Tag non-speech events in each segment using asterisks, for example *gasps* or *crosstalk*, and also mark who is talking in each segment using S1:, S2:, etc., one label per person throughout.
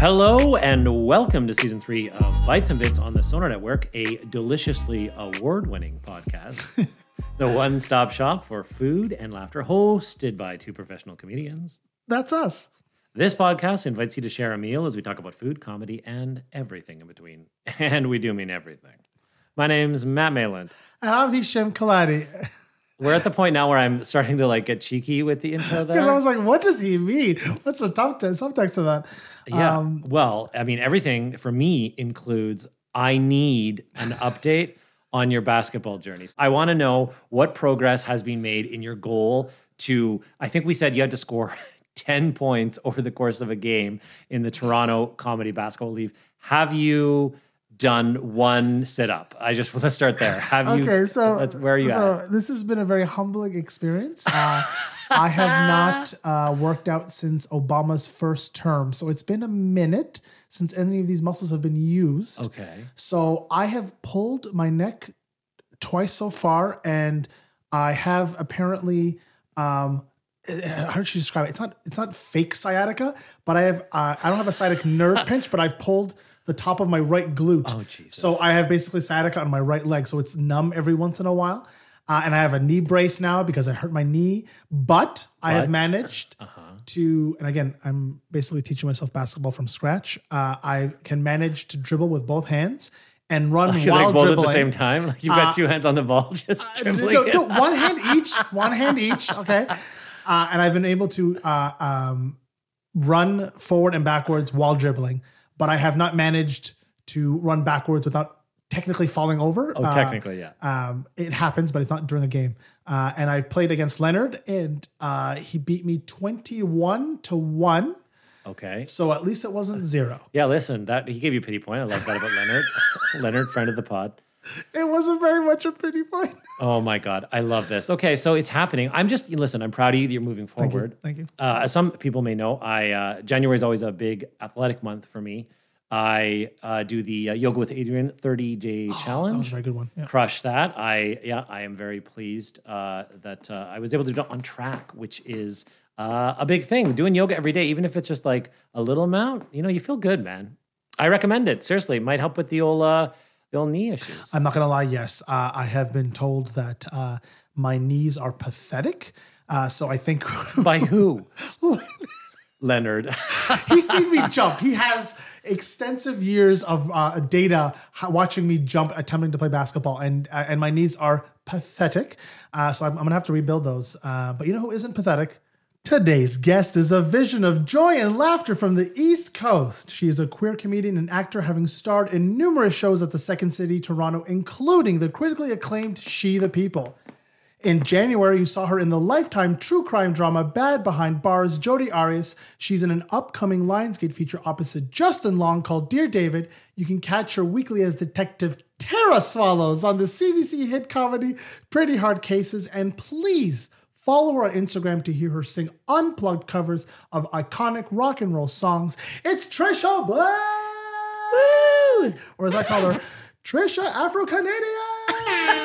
S1: Hello and welcome to season three of Bites and Bits on the Sonar Network, a deliciously award winning podcast, the one stop shop for food and laughter, hosted by two professional comedians.
S2: That's us.
S1: This podcast invites you to share a meal as we talk about food, comedy, and everything in between. *laughs* And we do mean everything. My name's Matt Mayland.
S2: And I'm Hisham Kalani. *laughs*
S1: We're at the point now where I'm starting to like get cheeky with the intro there.
S2: Because I was like, what does he mean? What's the top t- subtext of that?
S1: Yeah.
S2: Um,
S1: well, I mean, everything for me includes I need
S2: *laughs*
S1: an update on your basketball journeys. I want to know what progress has been made in your goal to, I think we said you had to score *laughs* 10 points over the course of a game in the Toronto Comedy Basketball League. Have you done one sit up? I just want to start there. Have you?
S2: Okay, so
S1: that's where are you
S2: so
S1: at?
S2: this has been a very humbling experience.
S1: *laughs*
S2: Uh, I have not uh, worked out since Obama's first term, so it's been a minute since any of these muscles have been used.
S1: Okay.
S2: So I have pulled my neck twice so far, and I have apparently um eh, how did she describe it? It's not it's not fake sciatica, but I have uh, I don't have
S1: *laughs*
S2: a sciatic nerve pinch, but I've pulled the top of my right glute.
S1: Oh, Jesus.
S2: So I have basically sciatica on my right leg, so it's numb every once in a while. Uh, and I have a knee brace now because I hurt my knee, but I
S1: But-
S2: have
S1: uh-huh.
S2: managed to, and again, I'm basically teaching myself basketball from scratch. Uh, I can manage to dribble with both hands and
S1: *laughs*
S2: run
S1: You're
S2: while
S1: like both
S2: dribbling.
S1: at the same time. Like you've got
S2: Uh,
S1: two hands on the ball, *laughs* just dribbling.
S2: No,
S1: it.
S2: no, one hand each, one hand each. Okay, uh, and I've been able to uh, um, run forward and backwards while dribbling, but I have not managed to run backwards without technically falling over. Uh,
S1: Oh, technically, yeah.
S2: Um, it happens, but it's not during a game. Uh, and I played against Leonard, and uh, he beat me twenty-one to one.
S1: Okay.
S2: So at least
S1: *laughs*
S2: it wasn't zero.
S1: Yeah, listen, that he gave you a pity point. I love that about Leonard.
S2: *laughs*
S1: Leonard, friend of the pod.
S2: It wasn't very much a pretty point.
S1: Oh my God, I love this. Okay, so it's happening. I'm just listen. I'm proud of you that you're moving forward.
S2: Thank you.
S1: Uh, as some people may know, I uh, January is always a big athletic month for me. I uh, do the uh, yoga with Adrian 30 day
S2: Oh, That
S1: challenge.
S2: was a very good one. Yeah.
S1: Crush that. I yeah, I am very pleased uh, that uh, I was able to do it on track, which is uh, a big thing. Doing yoga every day, even if it's just like a little amount, you know, you feel good, man. I recommend it. Seriously, it might help with the old uh, the old knee issues.
S2: *laughs* I'm not gonna lie. Yes, uh, I have been told that uh, my knees are pathetic. Uh, so I think *laughs*
S1: By who? Leonard.
S2: he's seen me jump. He has extensive years of uh, data ho- watching me jump, attempting to play basketball, and uh, and my knees are pathetic. Uh, so I'm, I'm gonna have to rebuild those. Uh, but you know who isn't pathetic? Today's guest is a vision of joy and laughter from the East Coast. She is a queer comedian and actor, having starred in numerous shows at the Second City, Toronto, including the critically acclaimed She the People. In January, you saw her in the Lifetime true crime drama Bad Behind Bars, Jodi Arias. She's in an upcoming Lionsgate feature opposite Justin Long called Dear David. You can catch her weekly as Detective Tara Swallows on the CBC hit comedy Pretty Hard Cases. And please follow her on Instagram to hear her sing unplugged covers of iconic rock and roll songs. It's Trisha Black! Or as I call her, Trisha Afro Canadian!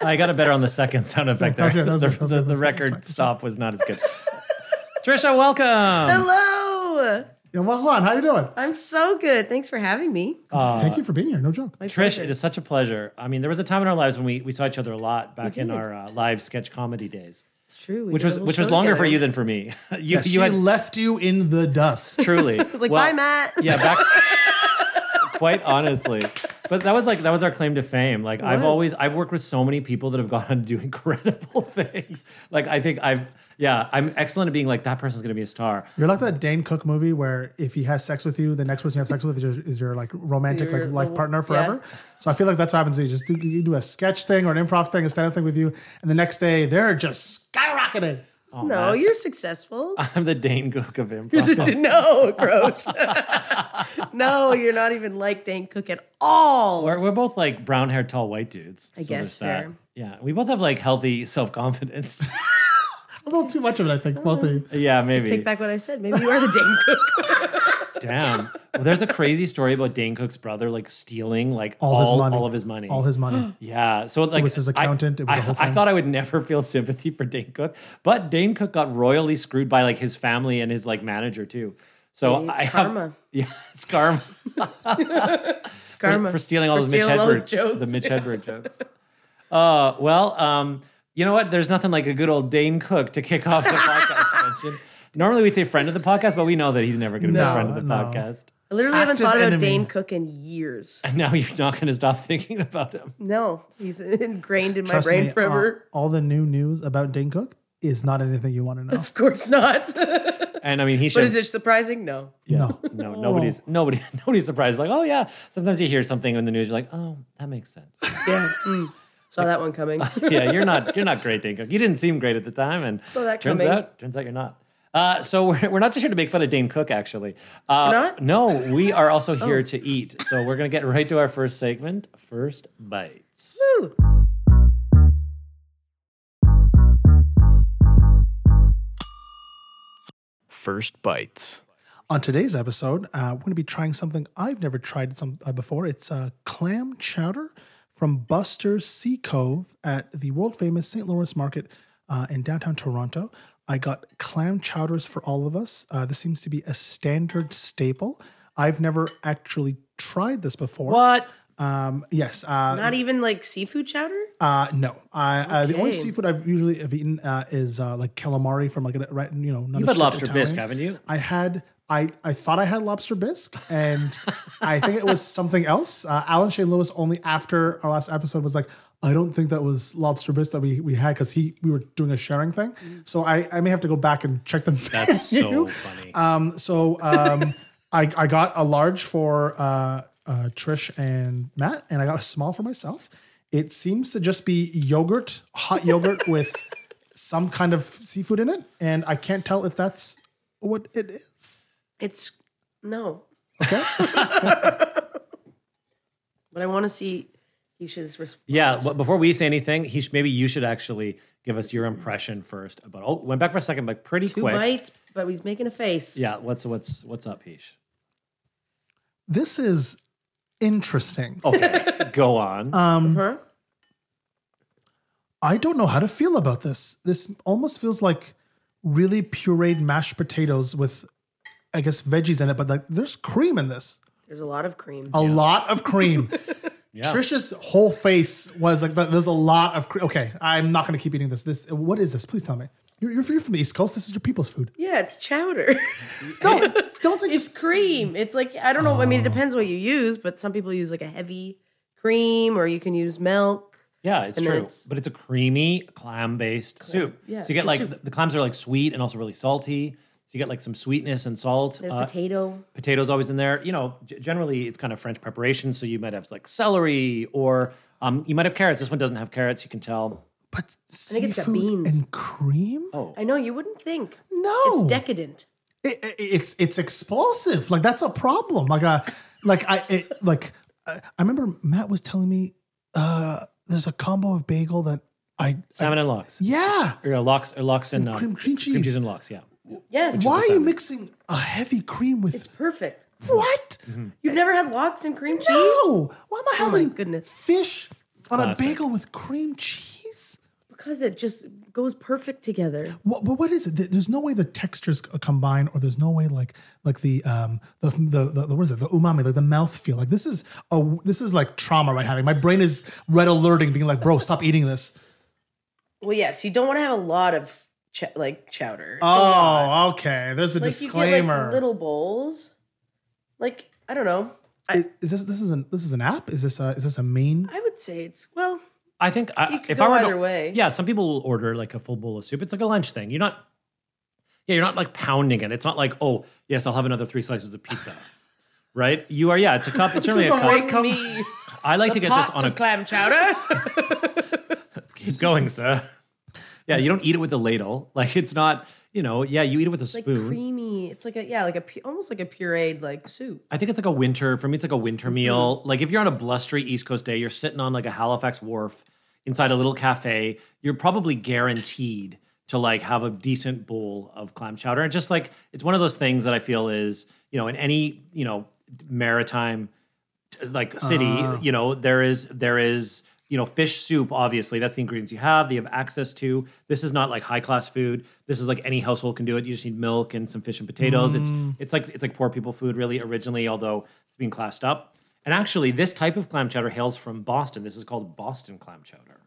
S1: I got it better on the second sound effect there.
S2: That was good, that was
S1: the,
S2: good, that was
S1: the-
S2: good,
S1: the
S2: that was good,
S1: record stop was not as
S2: *laughs*
S1: good. Trisha, welcome.
S3: Hello.
S2: Yeah, well, Juan, how you doing?
S3: I'm so good. Thanks for having me.
S2: Thank you for being here. No joke.
S3: My
S1: Oh, Trish,
S3: pleasure.
S1: it is such a pleasure. I mean, there was a time in our lives when we, we saw each other a lot back in
S3: did.
S1: our uh, live sketch comedy days,
S3: it's true. we
S1: which
S3: did a
S1: was
S3: little
S1: which was
S3: show
S1: longer for
S3: together.
S1: you than for me. *laughs* you
S2: she
S1: you had
S2: left you in the dust.
S3: *laughs*
S1: truly. I
S3: was like, "Bye, Matt."
S1: Yeah,
S3: *laughs*
S1: back. quite honestly. But that was like that was our claim to fame. Like I've
S3: was.
S1: always I've worked with so many people that have gone on to do *laughs* incredible things. Like I think I've yeah I'm excellent at being like that person's gonna be a star.
S2: *laughs*
S1: *laughs*
S2: You're like that Dane Cook movie where if he has sex with you, the next person you have sex with is your, is your like romantic
S3: Your-
S2: like life partner
S3: yeah.
S2: forever. So I feel like that's what happens. You just do, you do a sketch thing or an improv thing, a stand up thing with you, and the next day they're just skyrocketing.
S3: No, you're
S1: *laughs*
S3: successful. *laughs*
S1: I'm the Dane Cook of improv.
S3: no, gross. *laughs* no, you're not even like Dane Cook at all.
S1: *laughs* We're, we're both like brown haired, tall, white dudes. I
S3: guess fair.
S1: Yeah, we both have like healthy self confidence.
S3: *laughs*
S2: A little too much of it, I think. Both of you.
S1: yeah, maybe.
S3: Take back what I said. Maybe you are the Dane Cook.
S1: Damn. Well, there's a crazy story about Dane Cook's brother like stealing like all,
S2: All his money.
S1: all of his money.
S2: All his money.
S1: yeah. So like
S2: was his
S1: I-
S2: accountant. It was
S1: I,
S2: a whole
S1: I
S2: thing.
S1: thought I would never feel sympathy for Dane Cook, but Dane Cook got royally screwed by like his family and his like manager too. So
S3: Maybe it's
S1: I have-
S3: karma.
S1: *laughs* yeah, it's karma
S3: It's karma
S1: *laughs* for stealing all
S3: For
S1: those
S3: stealing all the
S1: Mitch Hedberg
S3: jokes.
S1: the Mitch Hedberg jokes. Uh, well, um, you know what? There's nothing like a good old Dane Cook to kick off the podcast. *laughs* mention. Normally we'd say friend of the podcast, but we know that he's never going to be a
S2: No,
S1: friend of the
S2: no.
S1: podcast.
S3: I literally haven't
S2: Active
S3: thought about
S2: enemy.
S3: Dane Cook in years.
S1: And now you're not going to stop *laughs* thinking about him.
S3: No, he's ingrained in *gasps* my
S2: Trust
S3: brain
S2: me, uh,
S3: forever.
S2: all the new news about Dane Cook is not anything you want to know.
S3: of course not.
S1: And I mean, he should.
S3: but *laughs* is it surprising? No.
S2: No.
S1: No,
S3: Oh.
S1: nobody's nobody *laughs* nobody's surprised. Like, oh yeah. Sometimes you hear something in the news, you're like, oh, that makes sense.
S3: Yeah. Mm. Saw that
S1: *laughs*
S3: one coming.
S1: yeah, you're not you're not great, Dane Cook. You didn't seem great at the time, and
S3: Saw that
S1: turns
S3: coming.
S1: out turns out you're not. Uh, so we're, we're not just here to make fun of Dane Cook, actually. Uh,
S3: not? Oh.
S1: No, we are also here to eat. So we're gonna get right to our first segment, first bites.
S3: Woo.
S4: First bites.
S2: On today's episode, uh, we're going to be trying something I've never tried some uh, before. It's uh, clam chowder from Buster's Sea Cove at the world famous St. Lawrence Market uh, in downtown Toronto. I got clam chowders for all of us. Uh, this seems to be a standard staple. I've never actually tried this before.
S1: What?
S2: Um, yes. Uh,
S3: Not even like seafood chowder?
S2: Uh, no, I, uh, the only
S3: Okay.
S2: seafood I've usually have eaten uh, is uh, like calamari from like a right, you know.
S1: You've had lobster bisque, haven't you?
S2: I had. I, I thought I had lobster bisque, and I think it
S1: *laughs*
S2: was something else. Uh, Alan Shane Lewis only after our last episode was like, I don't think that was lobster bisque that we, we had because he we were doing a sharing thing. So I, I may have to go back and check them.
S1: Mm. That's
S3: *laughs*
S1: so funny.
S3: Uh,
S2: Um, so um, I, I got a large for uh, uh, Trish and Matt, and I got a small for myself. It seems to just be yogurt, hot yogurt with some kind of seafood in it, and I can't tell if that's what it is.
S3: It's no. *laughs*
S2: Okay.
S3: But I want to see Keisha's response.
S1: Yeah, but before we say anything, he sh- maybe you should actually give us your impression first about. Oh, went back for a second, but pretty
S3: Two
S1: quick.
S3: bites, but he's making a face.
S1: Yeah, what's what's what's up, Heesh?
S2: this is interesting.
S1: Oh. Okay, *laughs* go on.
S3: Uh-huh.
S2: I don't know how to feel about this. This almost feels like really pureed mashed potatoes with, I guess, veggies in it, but like there's cream in this.
S3: There's a lot of cream.
S2: A lot of
S3: *laughs*
S2: cream. Trisha's whole face was like, "There's a lot of cream." Okay, I'm not going to keep eating this. This, what is this? Please tell me. You're, you're from the East Coast. This is your people's food.
S3: Yeah, it's chowder.
S2: No, *laughs* don't say
S3: it's
S2: just. Oh.
S3: cream. It's like I don't know. I mean, it depends what you use, but some people use like a heavy cream, or you can use milk.
S1: Yeah, it's
S3: And
S1: true.
S3: then it's-
S1: but it's a creamy clam based soup.
S3: Yeah,
S1: so you get
S3: just
S1: like
S3: soup.
S1: the, the clams are like sweet and also really salty. So you get like some sweetness and salt.
S3: There's
S1: Uh,
S3: potato.
S1: potatoes always in there. You know, g- generally it's kind of French preparation. So you might have like celery or um, you might have carrots. This one doesn't have carrots. You can tell.
S2: But
S3: think it's got
S2: seafood
S3: beans.
S2: and cream? Oh
S3: I know you wouldn't think.
S2: no,
S3: It's decadent.
S2: it, it- it's it's explosive. Like that's a problem. Like I like I it, like I I remember Matt was telling me uh there's a combo of bagel that I
S1: Salmon and lox.
S2: yeah.
S1: Or uh, lox or lox and um,
S2: cream- cream
S1: Cream
S2: cheese.
S1: cheese and lox, yeah.
S3: Yes,
S2: Why are you mixing a heavy cream with Mm-hmm.
S3: it's perfect.
S2: what?
S3: You've never had lox and cream cheese
S2: No, why am I
S3: Oh my
S2: having
S3: goodness.
S2: fish on
S1: Classic.
S2: a bagel with cream cheese?
S3: because it just goes perfect together.
S2: What, but what is it? There- There's no way the textures c- combine, or there's no way like like the um the the, the, the what is it? The umami, like the mouth feel. Like this is a this is like trauma right having. My brain is red alerting, being like, bro, stop eating
S3: *laughs*
S2: this.
S3: Well, yes, you don't want to have a lot of ch- like chowder. It's a lot.
S2: Oh, okay. There's a
S3: like you get like little bowls. Like I don't know. I,
S2: is, is this this is an this is an app? Is this a is this a main?
S3: I would say it's well.
S1: I think I,
S3: You could
S1: if
S3: go
S1: I were
S3: either
S1: to,
S3: way.
S1: yeah, some people will order like a full bowl of soup. It's like a lunch thing. You're not, yeah, you're not like pounding it. It's not like oh yes, I'll have another three slices of
S3: *laughs*
S1: pizza, right? You are yeah, it's a cup. It's
S2: This
S1: generally
S2: is
S1: a
S2: a
S1: cup.
S2: word-
S3: Bring
S2: come-
S3: me
S1: I like *laughs* to get this
S3: pot
S1: on a
S3: of clam
S1: *laughs*
S3: chowder.
S1: keep going,
S3: *laughs*
S1: sir. Yeah, you don't eat it with a ladle. Like it's not you know yeah, you eat it with a
S3: like
S1: spoon.
S3: creamy. It's like a yeah, like a pu- almost like a pureed like soup.
S1: I think it's like a winter. For me, it's like a winter meal. Like if you're on a blustery East Coast day, you're sitting on like a Halifax wharf inside a little cafe. You're probably guaranteed to like have a decent bowl of clam chowder. And just like it's one of those things that I feel is you know in any
S3: Ah.
S1: you know maritime like city, you know there is there is you know, fish soup, obviously, that's the ingredients you have, they have access to. This is not like high class food. This is like any household can do it. You just need milk and some fish and potatoes.
S3: Mm.
S1: It's it's like it's like poor people food, really, originally, although it's being classed up. And actually, this type of clam chowder hails from Boston. This is called Boston clam chowder.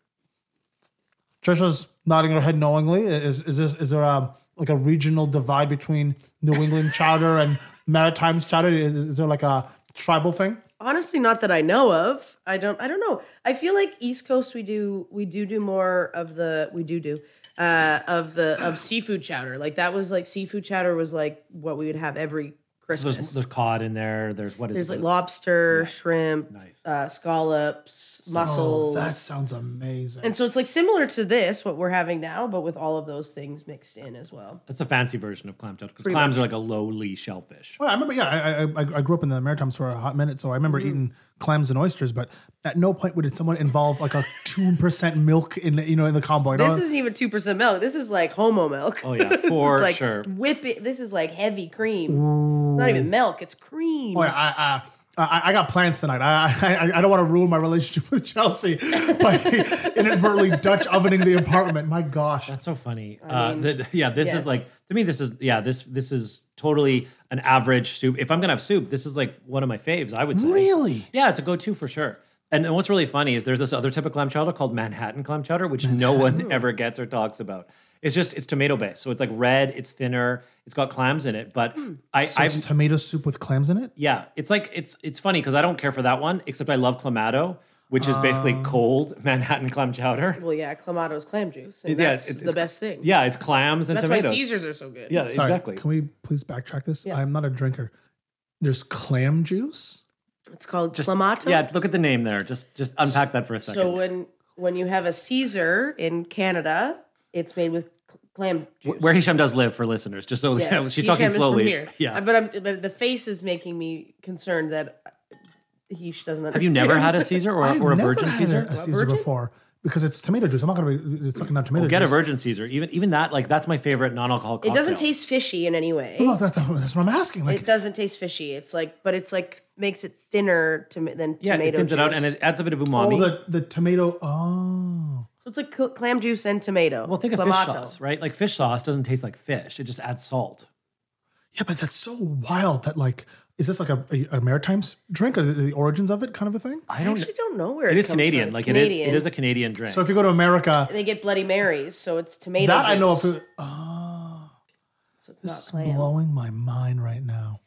S2: Trisha's nodding her head knowingly. Is is this is there a like a regional divide between New England chowder and Maritimes chowder? Is, is there like a tribal thing?
S3: honestly not that i know of i don't i don't know i feel like east coast we do we do do more of the we do do uh of the of seafood chowder like that was like seafood chowder was like what we would have every
S1: So
S3: christmas
S1: there's, there's cod in there. There's what is
S3: there's
S1: it?
S3: like lobster shrimp uh scallops mussels
S2: Oh, that sounds amazing.
S3: and so it's like similar to this what we're having now but with all of those things mixed in as well
S1: That's a fancy version of clam chowder because clams are like a lowly shellfish.
S2: Well, I remember, yeah, I, I- I, I grew up in the Maritimes for a hot minute, so I remember
S1: Mm-hmm.
S2: eating clams and oysters. But at no point would it someone involve like a two percent milk in the- you know in the combo. You know?
S3: this isn't even 2% milk this is like homo milk
S1: Oh yeah,
S3: *laughs* This is
S1: for
S3: like
S1: sure.
S3: whip it this is like heavy cream not even milk it's cream
S2: Boy, I, I, I, I got plans tonight. I, I, I don't want to ruin my relationship *laughs* with Chelsea by *laughs* inadvertently Dutch ovening the apartment. My gosh.
S1: That's so funny. uh, the- yeah, this
S3: yes.
S1: is like to me. This is yeah. This this is totally an average soup. If I'm gonna have soup, this is like one of my faves. I would say.
S2: Really?
S1: Yeah, it's a go-to for sure. And, and what's really funny is there's this other type of clam chowder called Manhattan clam chowder, which no one ever gets or talks about. It's just it's tomato based, so it's like red. It's thinner. It's got clams in it, but
S3: Hmm.
S1: I
S2: So
S1: I've
S2: it's tomato soup with clams in it?
S1: Yeah, it's like it's it's funny because I don't care for that one, except I love clamato, which is basically
S2: Oh.
S1: cold Manhattan clam chowder.
S3: Well, yeah, Clamato's clam juice. And
S1: Yeah,
S3: that's
S1: it's-
S3: the
S1: it's-
S3: best thing.
S1: Yeah, it's clams and
S3: that's
S1: tomatoes.
S3: why Caesars are so good.
S1: Yeah,
S2: Sorry,
S1: exactly.
S2: Can we please backtrack this?
S3: Yeah.
S2: I'm not a drinker. There's clam juice?
S3: it's called
S1: Just-
S3: Clamato.
S1: Yeah, look at the name there. Just just unpack that for a second.
S3: So when when you have a Caesar in Canada, it's made with cl- clam juice.
S1: Where Hisham does live for listeners, just *laughs* so
S3: Yes,
S1: she's
S3: you
S1: talking
S3: can't miss from
S1: slowly.
S3: here.
S1: Yeah.
S3: but I'm, but the face is making me concerned that he sh- doesn't.
S1: Have you
S3: Understand. *laughs*
S1: never had a Caesar or,
S2: I've
S1: or a
S2: never
S1: virgin
S2: had
S1: Caesar?
S2: A Caesar
S3: virgin?
S2: before because it's tomato juice. I'm not going to be sucking down tomato
S1: Get a
S2: juice.
S1: virgin Caesar. Even even that, like that's my favorite non-alcoholic.
S3: It doesn't
S1: cocktail.
S3: taste fishy in any way.
S2: Oh, that's, that's what I'm asking. Like,
S3: It doesn't taste fishy. It's like, but it's like makes it thinner to, than
S1: Yeah,
S3: tomato
S1: it thins
S3: juice.
S1: it out and it adds a bit of umami.
S2: all oh, the, the tomato. Oh.
S3: so it's like cl- clam juice and tomato.
S1: well, think of
S3: Clamato.
S1: fish sauce, right? Like fish sauce doesn't taste like fish; it just adds salt.
S2: Yeah, but that's so wild that, like, is this like a, a, a Maritimes drink or the, the origins of it kind of a thing?
S1: I
S3: I
S1: don't.
S3: actually don't know where
S1: It
S3: it
S1: is
S3: comes from.
S1: Canadian.
S3: It's
S1: Like it is.
S3: Canadian.
S1: It is a Canadian drink.
S2: So if you go to America,
S3: they get Bloody Marys, so it's tomato.
S2: that
S3: juice,
S2: I know of. Oh.
S3: so it's
S2: This
S3: not
S2: is
S3: clam.
S2: blowing my mind right now.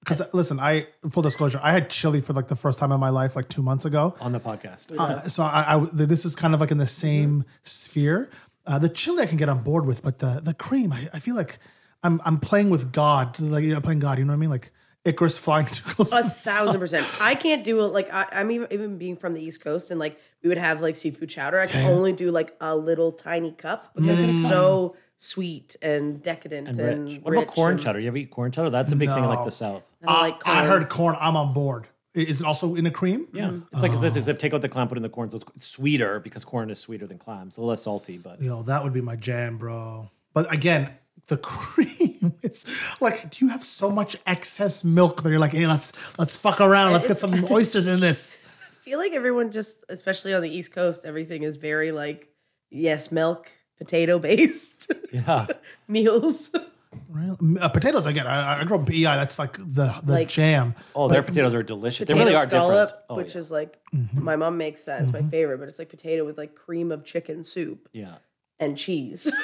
S2: Because listen, I full disclosure, I had chili for like the first time in my life like two months ago.
S1: on the podcast,
S2: Uh, so I, I- this is kind of like in the same sphere. Uh, the chili I can get on board with, but the the cream, I, I feel like I'm I'm playing with God, like you know, playing God. You know what I mean? Like Icarus flying *laughs* too
S1: *laughs*
S2: close.
S3: A thousand percent. I can't do it. Like I, I'm even, even being from the East Coast, and like we would have like seafood chowder. I could only do like a little tiny cup because it's so sweet and decadent and,
S1: Mm. rich. What about
S3: rich
S1: corn
S3: and-
S1: chowder? You ever eat corn chowder? That's a big thing in like
S2: No.
S1: the South.
S3: I don't like corn.
S2: I heard corn. I'm on board. I- Is it also in a cream?
S1: Yeah, it's like
S2: Oh.
S1: this except take out the clam, put in the corn, so it's it's sweeter because corn is sweeter than clams, a little less salty. But
S2: Yo, that would be my jam, bro. But again, the *laughs* cream. It's like, do you have so much excess milk that you're like, hey, let's let's fuck around. Let's get
S3: *laughs*
S2: some oysters in this.
S3: I feel like everyone just, especially on the East Coast, everything is very like yes, milk, potato based *laughs*
S1: yeah,
S3: meals.
S2: Really? Uh, potatoes again. I, I grew up in PEI. That's like the the
S3: Like-
S2: jam.
S1: oh, their potatoes are delicious. They
S3: potato
S1: really are
S3: scallop,
S1: different. Oh, Mm-hmm.
S3: which is like my mom makes that. It's my favorite, but it's like potato with like cream of chicken soup
S1: yeah.
S3: and cheese. *laughs*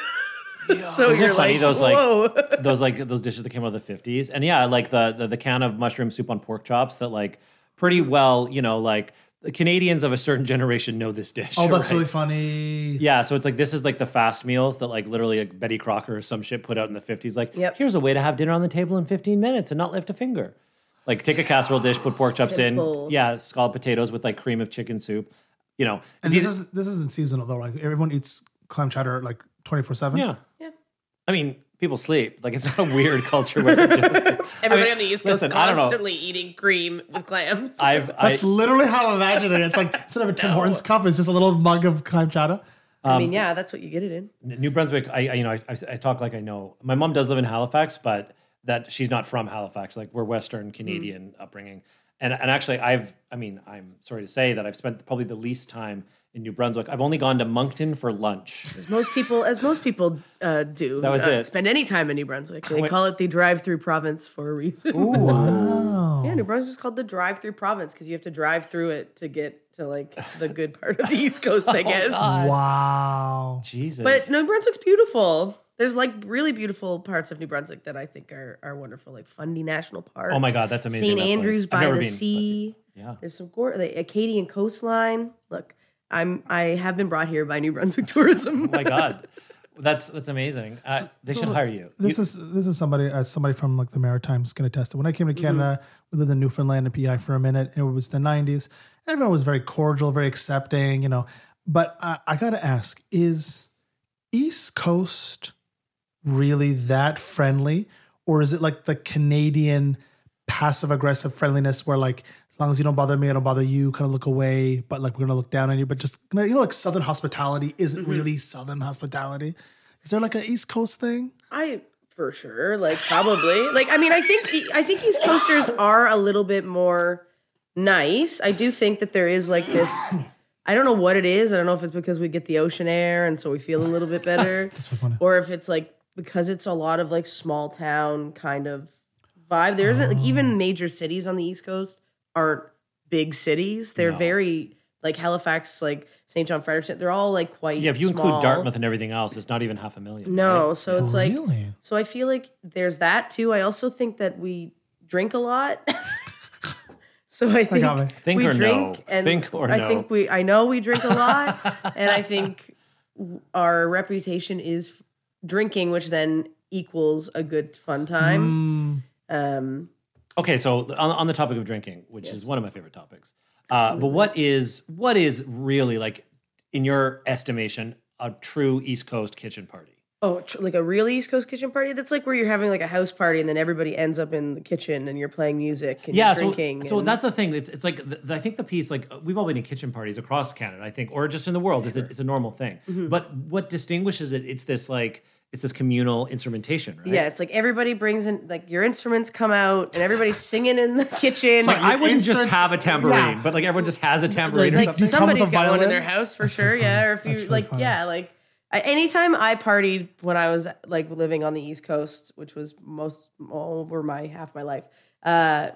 S3: so you're
S1: funny,
S3: like,
S1: those, like-
S3: whoa.
S1: yeah, those like those dishes that came out of the fifties, and yeah, like the, the the can of mushroom soup on pork chops that like pretty well, you know, like the Canadians of a certain generation know this dish.
S2: Oh,
S1: *laughs*
S2: that's
S1: right?
S2: really funny.
S1: Yeah, so it's like this is like the fast meals that like literally like Betty Crocker or some shit put out in the fifties. Like,
S3: Yep.
S1: here's a way to have dinner on the table in fifteen minutes and not lift a finger. Like, take a casserole dish, put pork chops
S3: Simple.
S1: in, yeah, scalloped potatoes with like cream of chicken soup. You know,
S2: And this is this isn't seasonal though. Like everyone eats clam chowder like twenty four seven.
S1: yeah,
S3: Yeah.
S1: I mean, people sleep. Like, it's not a weird *laughs* culture where they're
S2: *laughs*
S1: just,
S5: Everybody
S1: I mean,
S5: on the East Coast
S1: listen, I don't know. Um,
S5: constantly eating cream with clams.
S1: I've I,
S2: That's literally how I'm imagining it. It's like instead of
S1: *laughs*
S2: a Tim Hortons cup, it's just a little mug of clam chowder.
S3: I mean, yeah, that's what you get it in.
S1: New Brunswick. I, I you know I, I, I talk like I know. My mom does live in Halifax, but that she's not from Halifax. Like we're Western
S3: Mm.
S1: Canadian upbringing. And and actually, I've I mean I'm sorry to say that I've spent probably the least time in New Brunswick. I've only gone to Moncton for lunch.
S3: As most people, as most people uh, do,
S1: That was
S3: uh,
S1: it.
S3: spend any time in New Brunswick. They call it the drive-through province for a reason.
S1: *laughs*
S3: Yeah, New Brunswick is called the drive-through province because you have to drive through it to get to like the good part of the East
S1: *laughs*
S3: Coast,
S1: Oh,
S3: I guess.
S2: Wow.
S1: Jesus.
S3: But New Brunswick's beautiful. There's like really beautiful parts of New Brunswick that I think are are wonderful, like Fundy National Park.
S1: Oh my God, that's amazing,
S3: St.
S1: that
S3: Andrews
S1: place. I've
S3: by
S1: never
S3: the
S1: been, but
S3: sea.
S1: yeah.
S3: There's some gore the Acadian coastline. Look, I'm I have been brought here by New Brunswick *laughs* tourism.
S1: oh my God. That's that's amazing. Uh, they should hire you.
S2: This is this is somebody as somebody from like the Maritimes can attest to. When I came to Canada, we lived in Newfoundland and PI for a minute. and It was the '90s. Everyone was very cordial, very accepting, you know. But I, I got to ask: Is East Coast really that friendly, or is it like the Canadian passive aggressive friendliness, where like as long as you don't bother me, I don't bother you, kind of look away, but like we're gonna look down on you, but just you know, like Southern hospitality isn't really Southern hospitality. Is there like an East Coast thing?
S3: I for sure, like probably, like I mean, I think I think East Coasters are a little bit more nice. I do think that there is like this. I don't know what it is. I don't know if it's because we get the ocean air and so we feel a little
S1: *laughs*
S3: bit better, or if it's like because it's a lot of like small town kind of vibe. There isn't like
S1: Oh.
S3: even major cities on the East Coast aren't big cities. They're very like Halifax, like St. John Frederickson. They're all like quite
S1: Yeah, if you
S3: small.
S1: include Dartmouth and everything else, it's not even half a million.
S3: No, so it's like
S2: Really?
S3: so I feel like there's that too. I also think that we drink a lot. *laughs* so I think
S2: got me.
S1: Think
S3: we
S1: or no.
S3: drink and
S1: Think or
S3: I
S1: no.
S3: think we I know we drink a lot *laughs* and I think w- our reputation is f- drinking which then equals a good fun time. Um
S1: Okay, so on, on the topic of drinking, which is one of my favorite topics, uh, but what is what is really like in your estimation a true East Coast kitchen party?
S3: Oh, tr- like a real East Coast kitchen party? That's like where you're having like a house party and then everybody ends up in the kitchen and you're playing music and
S1: Yeah,
S3: you're
S1: so,
S3: drinking.
S1: so
S3: and-
S1: that's the thing. It's it's like the, the- I think the piece like uh, we've all been in kitchen parties across Canada, I think, or just in the world. It's a, it's a normal thing. But what distinguishes it? It's this like it's this communal instrumentation, right?
S3: Yeah, it's like everybody brings in like your instruments come out and everybody's singing in the *laughs* kitchen.
S1: Like, I wouldn't just
S2: Instruments-
S1: have a tambourine,
S2: yeah.
S1: but like everyone just has a tambourine or
S2: like,
S1: something.
S2: do you come with
S3: Somebody's
S2: a
S3: got one in
S2: violin?
S3: their house for
S2: That's
S3: sure.
S2: really
S3: Yeah,
S2: funny.
S3: or if you
S2: That's really
S3: like,
S2: funny.
S3: yeah, like a- anytime I partied when I was like living on the East Coast, which was most all over my half my life. Uh,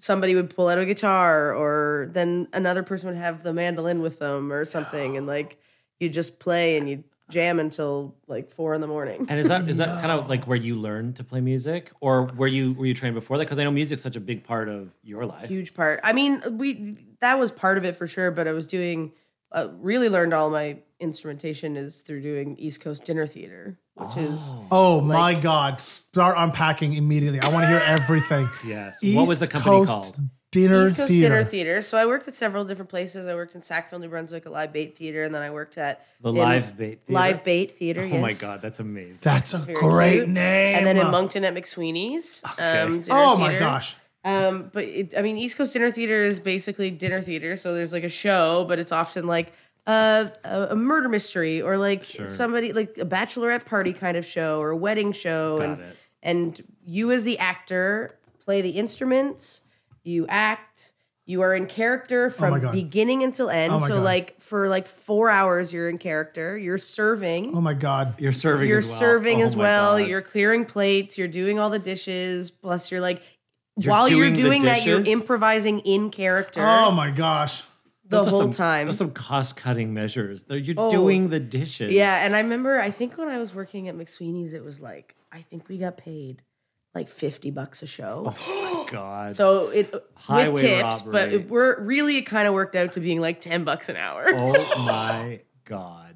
S3: somebody would pull out a guitar, or then another person would have the mandolin with them, or something, and like you just play and you jam until like four in the morning.
S1: And is that is that kind of like where you learn to play music, or were you were you trained before that? Because I know music's such a big part of your life.
S3: huge part. I mean, we that was part of it for sure, but I was doing uh, really learned all my instrumentation is through doing East Coast dinner theater, which is
S2: Oh my God! Start unpacking immediately. I want to
S3: *laughs*
S2: hear everything.
S1: Yes. What was the
S2: East
S1: company
S2: Coast
S1: called?
S2: Dinner
S3: East Coast
S2: Theater.
S3: Dinner Theater. So I worked at several different places. I worked in Sackville, New Brunswick, at Live Bait Theater, and then I worked at
S1: The
S3: in
S1: Live Bait Theater?
S3: Live Bait Theater.
S1: Oh my god, that's amazing.
S2: That's a great name.
S3: And then in Moncton at McSweeney's. Um, dinner
S2: oh my
S3: theater.
S2: gosh!
S3: Um, but it, I mean, East Coast Dinner Theater is basically dinner theater. So there's like a show, but it's often like a, a, a murder mystery or like somebody like a bachelorette party kind of show or a wedding show, and
S1: it.
S3: and you as the actor play the instruments, you act. You are in character
S2: Oh my
S3: from
S2: God.
S3: beginning until end.
S2: Oh my
S3: so,
S2: God.
S3: like for like four hours, you're in character. You're serving.
S2: Oh my God!
S1: You're serving.
S3: You're
S1: as well.
S3: serving
S1: Oh
S3: as
S1: my
S3: well.
S1: God.
S3: You're clearing plates. You're doing all the dishes. Plus, you're like, while
S1: doing
S3: you're
S1: the
S3: doing that, you're
S1: dishes?
S3: improvising in character
S2: Oh my gosh!
S3: the
S1: Those are
S3: whole
S1: some-
S3: time. Oh.
S1: Those are some cost cutting measures. They're- You're doing the dishes.
S3: yeah, and I remember, I think when I was working at McSweeney's, it was like, I think we got paid like fifty bucks a show.
S1: God.
S3: So it
S1: Oh.
S3: uh,
S1: Highway
S3: with tips, but
S1: robbery.
S3: it were really it kind of worked out to being like ten bucks an hour.
S1: oh my god.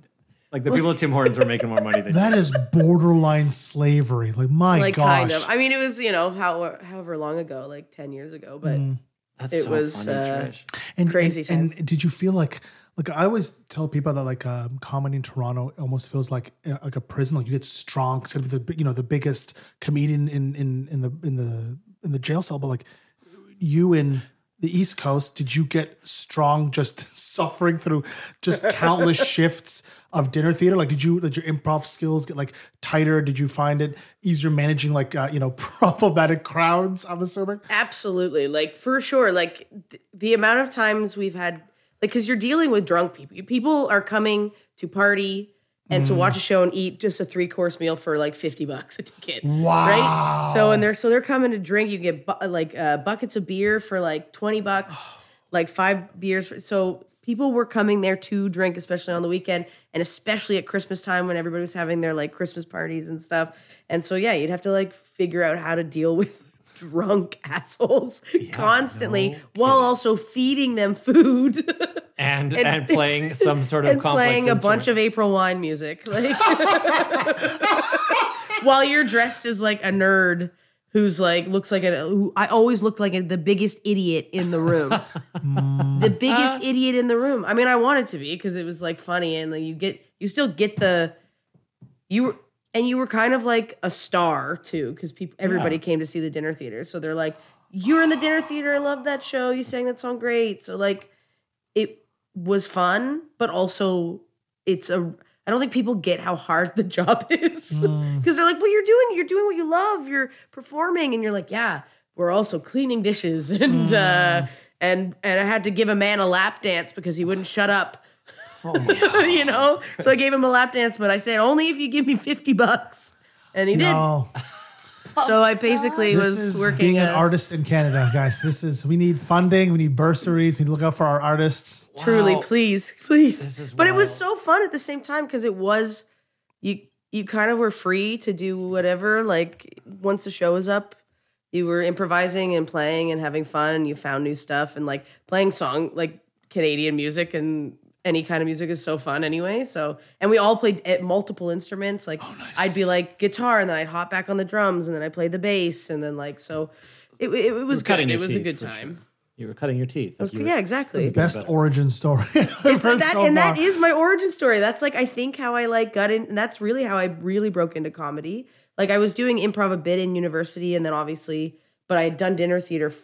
S1: Like the people at Tim Hortons were making more money than
S2: That is borderline slavery. Like my
S3: *laughs* like
S2: gosh!
S3: kind of. I mean, it was you know how however long ago, like ten years ago, but
S1: Mm. That's
S3: it
S1: so
S3: was,
S1: funny,
S3: uh,
S1: Trish.
S2: and,
S3: Crazy
S2: and, and did you feel like like i always tell people that like um, comedy in toronto almost feels like uh, like a prison like you get strong it's gonna be the big- you know the biggest comedian in in in the in the in the jail cell but like you in the east coast did you get strong just *laughs* suffering through just countless shifts of dinner theater like did you did your improv skills get like tighter did you find it easier managing like uh, you know *laughs* problematic crowds i'm assuming
S3: Absolutely. Like for sure. Like th- the amount of times we've had like because you're dealing with drunk people. People are coming to party and to watch a show and eat just a three course meal for like fifty bucks a ticket. Wow! Right? So and they're so they're coming to drink. You get bu- like uh, buckets of beer for like twenty bucks, like five beers. For, so people were coming there to drink, especially on the weekend and especially at Christmas time when everybody was having their like Christmas parties and stuff. And so yeah, you'd have to like figure out how to deal *laughs* with drunk *laughs* assholes constantly while also feeding them food *laughs*
S1: and, and playing some sort of
S3: and
S1: complex
S3: playing a bunch
S1: instrument.
S3: of April Wine music. Like *laughs* while you're dressed as like a nerd who's like looks like a who I always look like the biggest idiot in the room. the
S1: Uh.
S3: biggest idiot in the room. I mean, I wanted to be because it was like funny and like you get you still get the you were and you were kind of like a star too because people everybody came to see the dinner theater. So they're like, "You're in the dinner theater. I love that show. You sang that song great." So like it was fun, but also it's a I don't think people get how hard the job *laughs* is because they're like, well, you're doing you're doing what you love, you're performing, and you're like, yeah, we're also cleaning dishes *laughs* and uh, and and I had to give a man a lap dance because he wouldn't shut up. *laughs* Oh you know, so I gave him a lap dance, but I said only if you give me fifty bucks, and he
S2: No,
S3: did. So I basically
S2: this
S3: was
S2: is
S3: working
S2: being
S3: a-
S2: an artist in Canada, guys. This is we need funding, we need bursaries, we need to look out for our artists.
S3: truly
S1: Wow.
S3: please please
S1: is
S3: but it was so
S1: wild.
S3: fun at the same time because it was you you kind of were free to do whatever like once the show was up you were improvising and playing and having fun you found new stuff and like playing song like canadian music and any kind of music is so fun anyway so and we all played at multiple instruments like
S1: Oh,
S3: i'd be like guitar and then i'd hop back on the drums and then i played the bass and then like so it, it, it was
S1: cutting
S3: good.
S1: your
S5: It was a
S1: teeth,
S5: good
S1: for sure.
S5: time.
S1: You were cutting your teeth.
S3: It was- yeah exactly
S2: Best origin story. *laughs* I've
S3: it's
S2: heard
S3: that,
S2: so
S3: and that
S2: far.
S3: is my origin story. That's like I think how I like got in. And that's really how I really broke into comedy. Like I was doing improv a bit in university, and then obviously, but I had done dinner theater f-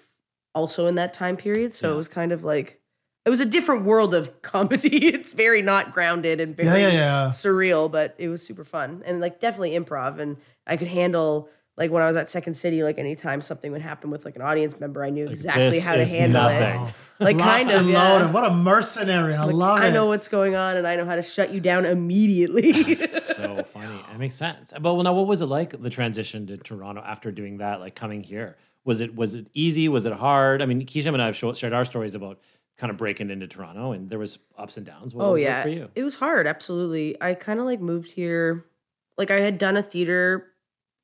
S3: also in that time period. So it was kind of like it was a different world of *laughs* comedy. it's very not grounded and very
S2: yeah, yeah, yeah.
S3: surreal, but it was super fun and like definitely improv. And I could handle like when I was at Second City, like anytime something would happen with like an audience member, I knew exactly
S1: this
S3: how to
S1: is
S3: handle
S1: nothing.
S3: it. Like
S2: Locked
S3: kind of
S2: and
S3: yeah.
S2: loaded. What a mercenary. I love it.
S3: I know what's going on and I know how to shut you down
S2: *laughs*
S3: immediately.
S1: so funny. It makes sense. But well, now, what was it like the transition to Toronto after doing that? Like coming here, was it was it easy? Was it hard? I mean, Keisha and I have sho- shared our stories about kind of breaking into Toronto, and there was ups and downs. What
S3: *laughs* oh
S1: was it
S3: yeah.
S1: for you?
S3: It was hard, absolutely. I kind of like moved here like I had done a theater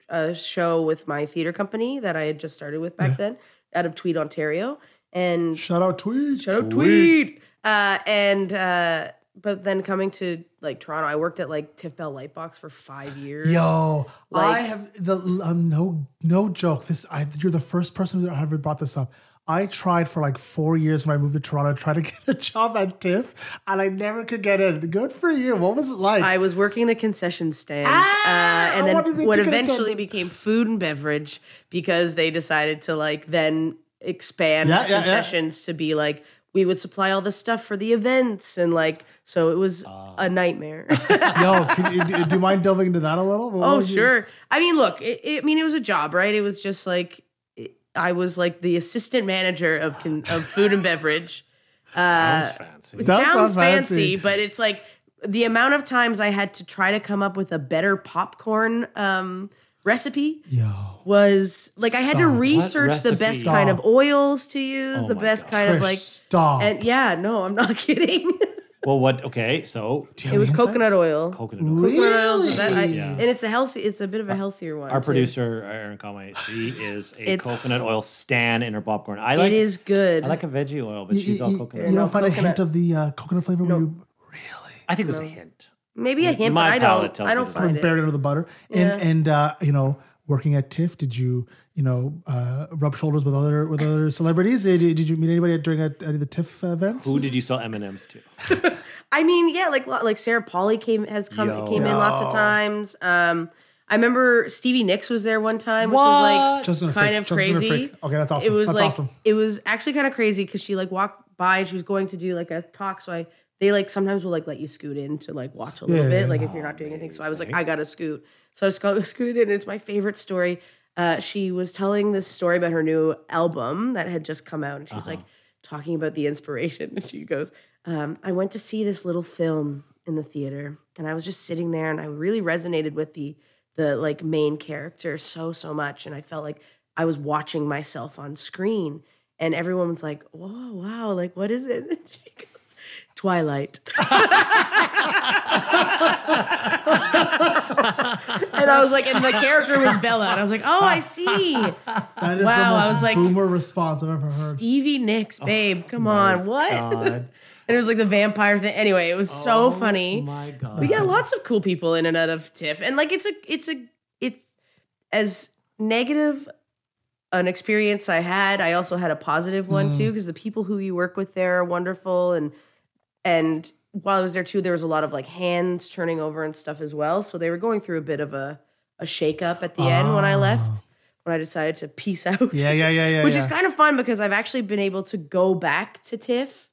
S3: uh, show with my theater company that I had just started with back then out of Tweed, Ontario. And
S2: Shout out Tweed.
S3: Shout out Tweet. Uh, and uh, but then coming to like Toronto, I worked at like Tiff Bell Lightbox for five years.
S2: Yo,
S3: Like-
S2: I have the um, no no joke. This I, you're the first person that ever brought this up. I tried for like four years when I moved to Toronto, *laughs* tried to get a job at TIFF, and I never could get in. Good for you. What was it like?
S3: I was working the concession stand,
S2: Ah,
S3: uh,
S2: I
S3: and
S2: wanted
S3: then
S2: to
S3: what
S2: take it
S3: eventually
S2: down.
S3: became food and beverage because they decided to like then expand
S2: Yeah, yeah, yeah.
S3: concessions to be like we would supply all the stuff for the events and like so it was
S2: Ah. *laughs*
S3: a nightmare. *laughs*
S2: Yo, can you, do you mind delving into that a little? What
S3: oh
S2: was you-
S3: sure, I mean look, it, it, I mean it was a job, right? It was just like it, I was like the assistant manager of con- of food and beverage. Uh,
S1: Sounds fancy.
S2: That
S3: sounds
S2: sounds
S3: fancy,
S2: fancy.
S3: but it's like the amount of times I had to try to come up with a better popcorn um, recipe
S2: Yo.
S3: was like I had to
S2: Stop. What
S3: research the best
S1: recipe? Oh
S3: kind of oils to use, the
S1: my
S3: best
S1: gosh.
S3: kind
S2: Trish,
S3: of like,
S2: stop.
S3: and yeah, no, I'm not *laughs* kidding.
S1: Well, what? Okay, so
S2: Do you
S3: it
S2: have
S3: was
S2: any insight?
S3: coconut oil.
S1: coconut oil.
S3: Coconut oil is the best. I-
S2: Really?
S3: and it's a healthy. It's a bit of a healthier one.
S1: Our
S3: too.
S1: producer Erin Conway, she is a
S3: It's-
S1: coconut oil stan in her popcorn. I
S3: It
S1: like
S3: is good.
S1: I like a veggie oil, but
S2: You,
S1: she's all
S2: you-
S1: coconut.
S2: you
S1: oil.
S2: don't find a hint of the uh, coconut flavor when you
S1: I think there's a hint.
S3: Maybe a hint, but
S1: My
S3: I
S1: palate
S3: don't.
S1: tells
S3: I
S1: me
S3: don't
S1: this.
S3: find it.
S2: buried under the butter. And and uh, you know, working at TIFF, did you you know uh, rub shoulders with other with
S3: *coughs*
S2: other celebrities? Did, did you meet anybody at- during at, at the TIFF events?
S1: Who did you sell M and M's to?
S3: I mean, yeah, like lo- like Sarah Pauly came has come
S1: Yo.
S3: came in lots of times. Um, I remember Stevie Nicks was there one time, which was like
S2: Justin a
S3: kind
S2: freak.
S3: of
S2: Justin a
S3: crazy.
S2: freak. Okay, that's awesome.
S3: It was
S2: that's
S3: like
S2: awesome.
S3: it was actually kind of crazy because she like walked by. She was going to do like a talk, so I they like sometimes will like let you scoot in to like watch a little
S2: Yeah,
S3: bit,
S2: yeah.
S3: like if you're not doing anything. So I was like, I gotta scoot. So I sco- *laughs* scooted in. and It's my favorite story. Uh, she was telling this story about her new album that had just come out, and she was like talking about the inspiration. *laughs* And she goes, um, I went to see this little film in the theater, and I was just sitting there, and I really resonated with the the like main character so so much, and I felt like I was watching myself on screen, and everyone was like, "Whoa, wow! Like, what is it?" *laughs* And she goes, "Twilight." *laughs* and I was like, and the character was Bella, and I was like, "Oh, I see."
S2: That is
S3: Wow,
S2: the
S3: I
S2: most
S3: was like-
S2: boomer response I've ever heard.
S3: Stevie Nicks, babe, come on, what?
S1: God.
S3: *laughs*
S1: Oh
S3: And it was like the vampire thing. Anyway, it was so funny.
S1: My God.
S3: But yeah, lots of cool people in and out of TIFF, and like it's a it's a it's as negative an experience I had. I also had a positive one too because the people who you work with there are wonderful, and and while I was there too, there was a lot of like hands turning over and stuff as well. So they were going through a bit of a a shakeup at the end when I left when I decided to peace *laughs* out
S2: Yeah, yeah, yeah, yeah.
S3: which
S2: yeah.
S3: is kind of fun because I've actually been able to go back to TIFF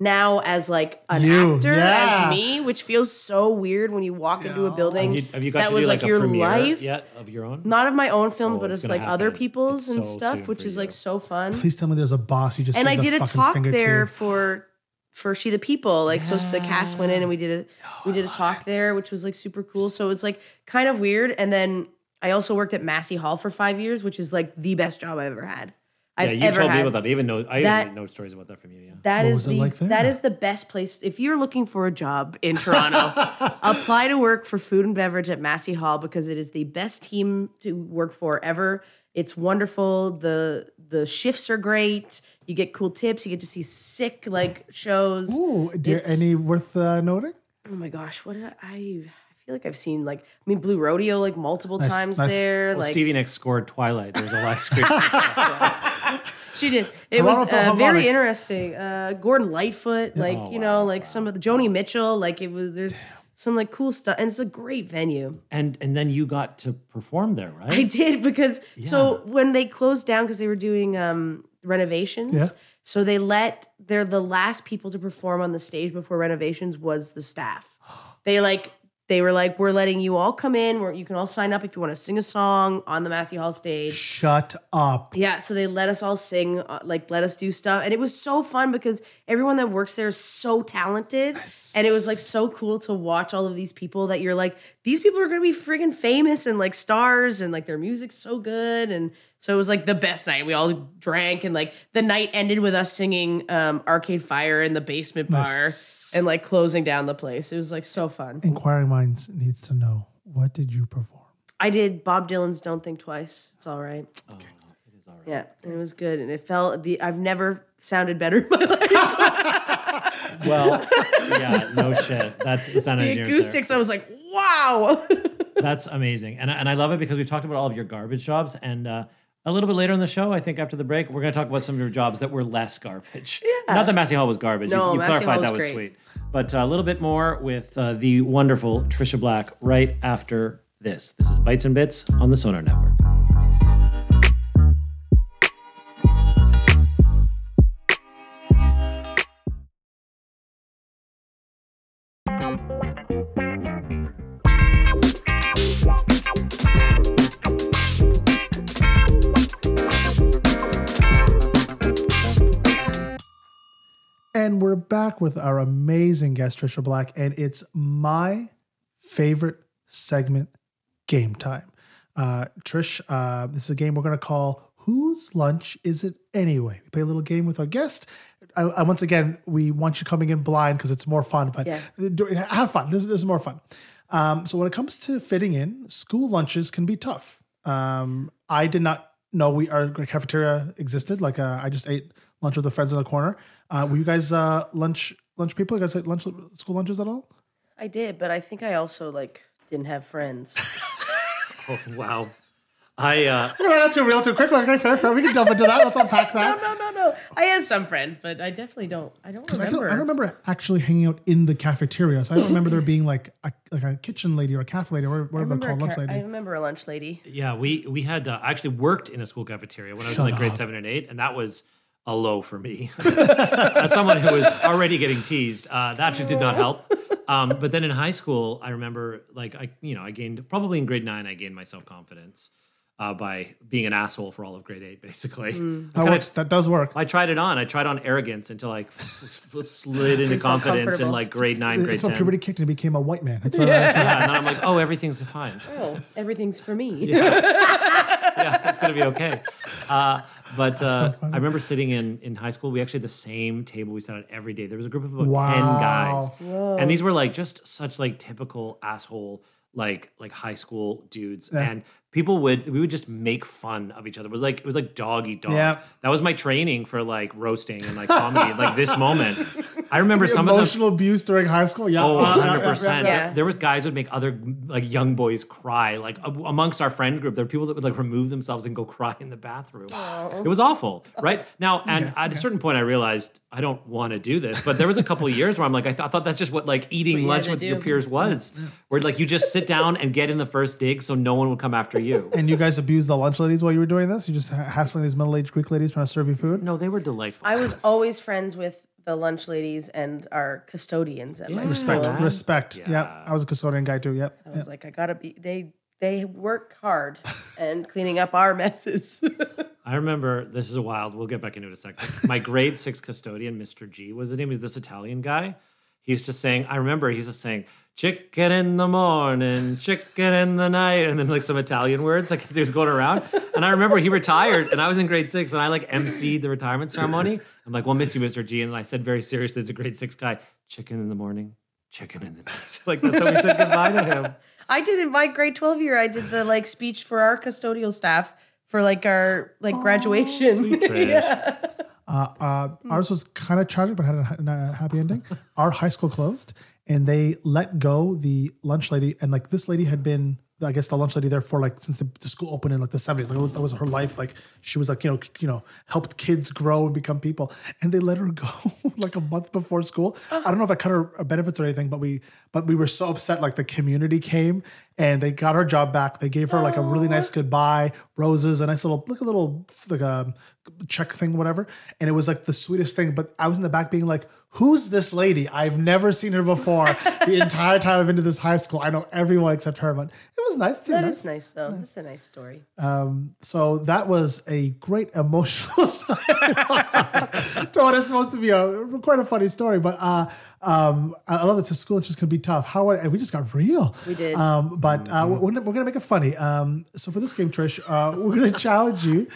S3: now as like an
S2: You,
S3: actor
S2: yeah.
S3: as me, which feels so weird when you walk into a building
S1: Have you, have you got
S3: that
S1: to
S3: was
S1: do
S3: like,
S1: like,
S3: your
S1: a premiere
S3: life,
S1: yet of your own?
S3: not of my own film,
S1: Oh,
S3: but
S1: it's
S3: of
S1: gonna
S3: like other
S1: happen.
S3: people's
S1: It's
S3: and
S1: so
S3: stuff,
S1: soon
S3: which
S1: for
S3: is
S1: you.
S3: like so fun.
S2: Please tell me there's a boss you just
S3: and I
S2: gave the
S3: did a
S2: fucking
S3: talk
S2: finger
S3: there
S2: To.
S3: for for She the People, like so the cast went in and we did a we did a talk there, which was like super cool. So it's like kind of weird, and then. I also worked at Massey Hall for five years, which is like the best job I've ever had. I've
S1: yeah, you
S3: ever
S1: told
S3: had.
S1: me about that. I even know I
S3: That-
S1: even know stories about that from you. Yeah.
S3: That is
S2: was it
S3: the
S2: like there?
S3: that is the best place. If you're looking for a job
S2: *laughs*
S3: in Toronto, apply to work for food and beverage at Massey Hall because it is the best team to work for ever. It's wonderful. The the shifts are great. You get cool tips. You get to see sick like shows.
S2: Ooh, dear,
S3: It's-
S2: any worth uh, noting?
S3: Oh my gosh, what did I? I feel like I've seen like I mean Blue Rodeo like multiple
S2: Nice,
S3: times
S2: nice.
S3: there.
S1: Well,
S3: like
S1: Stevie Nicks scored Twilight. There was a live screen. *laughs*
S3: She did. It
S2: Toronto
S3: was uh,
S2: Philharmonic.
S3: very interesting. Uh, Gordon Lightfoot, like
S2: Oh,
S3: you know, like some of the Joni Mitchell, like it was. There's some like cool stuff, and it's a great venue. *laughs*
S1: and and then you got to perform there, right?
S3: I did because so when they closed down because they were doing um, renovations,
S2: Yeah.
S3: so they let they're the last people to perform on the stage before renovations was the staff.
S2: *gasps*
S3: They like they were like we're letting you all come in. Where you can all sign up if you want to sing a song on the Massey Hall stage.
S2: Shut up.
S3: Yeah, so they let us all sing, uh, like let us do stuff, and it was so fun because everyone that works there is so talented, and it was like so cool to watch all of these people that you're like, these people are gonna be friggin' famous and like stars, and like their music's so good, and so it was like the best night. We all drank, and like the night ended with us singing um, "Arcade Fire" in the basement bar, and like closing down the place. It was like so fun.
S2: Inquiring minds needs to know what did you perform?
S3: I did Bob Dylan's "Don't Think Twice." It's all right. Oh, it is all right. Yeah, and it was good, and it felt the. I've never sounded better in my life.
S1: well, *laughs* yeah, no shit. That's the sound
S3: The
S1: engineers there.
S3: acoustics, I was like, wow. *laughs*
S1: That's amazing, and and I love it because we've talked about all of your garbage jobs, and uh, a little bit later in the show, I think after the break, we're going to talk about some of your jobs that were less garbage. Yeah. Not that Massey Hall was garbage. You-
S3: No,
S1: you,
S3: Massey
S1: clarified
S3: Hall
S1: that
S3: was
S1: was
S3: great.
S1: sweet, but uh, a little bit more with uh, the wonderful Trisha Black right after this. This is Bites and Bits on the Sonar Network.
S2: And we're back with our amazing guest, Trisha Black, and it's my favorite segment, game time. Uh, Trish, uh, this is a game we're going to call Whose Lunch Is It Anyway? We play a little game with our guest. I, I, once again, we want you coming in blind because it's more fun, but
S3: Yeah.
S2: have fun. This, is- this is more fun. Um, so, when it comes to fitting in, school lunches can be tough. Um, I did not know we our cafeteria existed. Like, uh, I just ate lunch with the friends in the corner. Uh, were you guys uh, lunch lunch people? You guys ate lunch school lunches at all? *laughs*
S3: I did, but I think I also like didn't have *laughs* friends.
S1: Oh, wow. I uh,
S2: No, that's too real, too quick. Okay, fair, fair. We can jump into that. Let's unpack that.
S3: *laughs* no, no, no, no. I had some friends, but I definitely don't. I don't
S2: I don't,
S3: remember.
S2: I don't remember actually hanging out in the cafeteria, so I don't remember there being like a, like a kitchen lady or a cafe lady or whatever they're
S3: remember a
S2: called, lunch
S3: car-
S2: lady.
S3: I remember a lunch *laughs* lady.
S1: Yeah, we we had uh, I actually worked in a school cafeteria when I was in like grade seven and eight, and that was a low for me. *laughs* As someone who was already getting teased, uh, that just did not help. Um, but then in high school, I remember like I you know I gained probably in grade nine I gained my self confidence, uh, by being an asshole for all of grade eight, basically. I,
S2: That
S1: kinda-
S2: works. That does work.
S1: I tried it on. I tried on arrogance until I s- s- *laughs* slid into confidence in
S3: comfortable.
S1: like grade nine, grade
S2: That's what
S1: ten.
S2: puberty kicked and he became a white man. That's what, that's what
S1: Yeah, and then I'm like, oh, everything's fine.
S3: Oh, everything's for me.
S1: yeah, it's gonna be okay. Uh, but uh, I remember sitting in in high school. We actually had the same table we sat at every day. There was a group of about ten
S2: Wow.
S1: guys, and these were like just such like typical asshole like like high school dudes. And people would we would just make fun of each other. It was like it was like dog eat dog.
S2: Yeah.
S1: That was my training for like roasting and like comedy. like this moment, I remember some of them.
S2: emotional abuse during high school. Yeah.
S1: Oh,
S2: Yeah, yeah, yeah,
S1: 100 percent.
S2: yeah,
S3: yeah.
S1: There was guys would make other like young boys cry. Like a- amongst our friend group, there were people that would like remove themselves and go cry in the bathroom. It was awful, right? *laughs* Now, and at a certain point, I realized I don't want to do this. But there was a couple of years where I'm like, I, th- I thought that's just what like eating
S5: you
S1: lunch
S5: had
S1: with
S5: to
S1: your
S5: do.
S1: peers was, where like you just sit down and get in the first dig, so no one would come after you.
S2: And you guys abused the lunch ladies while you were doing this? You just ha- hassling these middle aged Greek ladies trying to serve you food?
S1: *laughs* No, they were delightful.
S3: I was always friends with the lunch ladies and our custodians at my
S1: Yeah.
S3: school.
S2: Respect.
S1: Yeah.
S2: Respect. Yeah.
S1: Yeah.
S2: I was a custodian guy too. Yep.
S3: I was like, I gotta be. They they work *laughs* hard and cleaning up our messes.
S1: I remember this is a wild. We'll get back into it in a second.
S2: *laughs*
S1: My grade six custodian, Mr. G, was his name. He's this Italian guy. He used to sing. I remember he used to sing "chicken in the morning, chicken in the night," and then like some Italian words. Like *laughs* he was going around. And I remember he retired, and I was in grade six, and I like emceed the retirement ceremony. I'm like, "Well, miss you, Mr. G," and then I said very seriously, "It's a grade six guy. Chicken in the morning, chicken in the night." *laughs* Like that's how we said goodbye to
S2: *laughs*
S1: him.
S3: I did in my grade twelve year. I did the like speech for our custodial staff for like our like graduation.
S1: Trish.
S2: Uh, ours was kind of tragic, but had a, ha- a happy ending. Our high school closed, and they let go the lunch lady, and like this lady had been. I guess the lunch lady there for like since the, the school opened in like the seventies, like that was her life. Like she was like you know c- you know helped kids grow and become people, and they let her *laughs* go like a month before school. I don't know if I cut her uh, benefits or anything, but we but we were so upset. Like the community came and they got her job back. They gave her like a really nice goodbye, roses, a nice little like a little like a check thing, whatever. And it was like the sweetest thing. But I was in the back being like, who's this lady? I've never seen her
S3: *laughs*
S2: before the entire time I've been to this high school. I know everyone except her, but it was nice too.
S3: *laughs* That
S2: nice. Uh,
S3: is nice though. That's a nice story.
S2: So that was a great emotional *laughs* side to what is supposed to be a quite a funny story. But uh, um, I I love it. So school just can be tough. How and we just got real. We
S3: did.
S2: Um, but uh, we're, gonna- we're gonna make it funny. Um, so for this game, Trish, uh, *laughs* we're gonna challenge you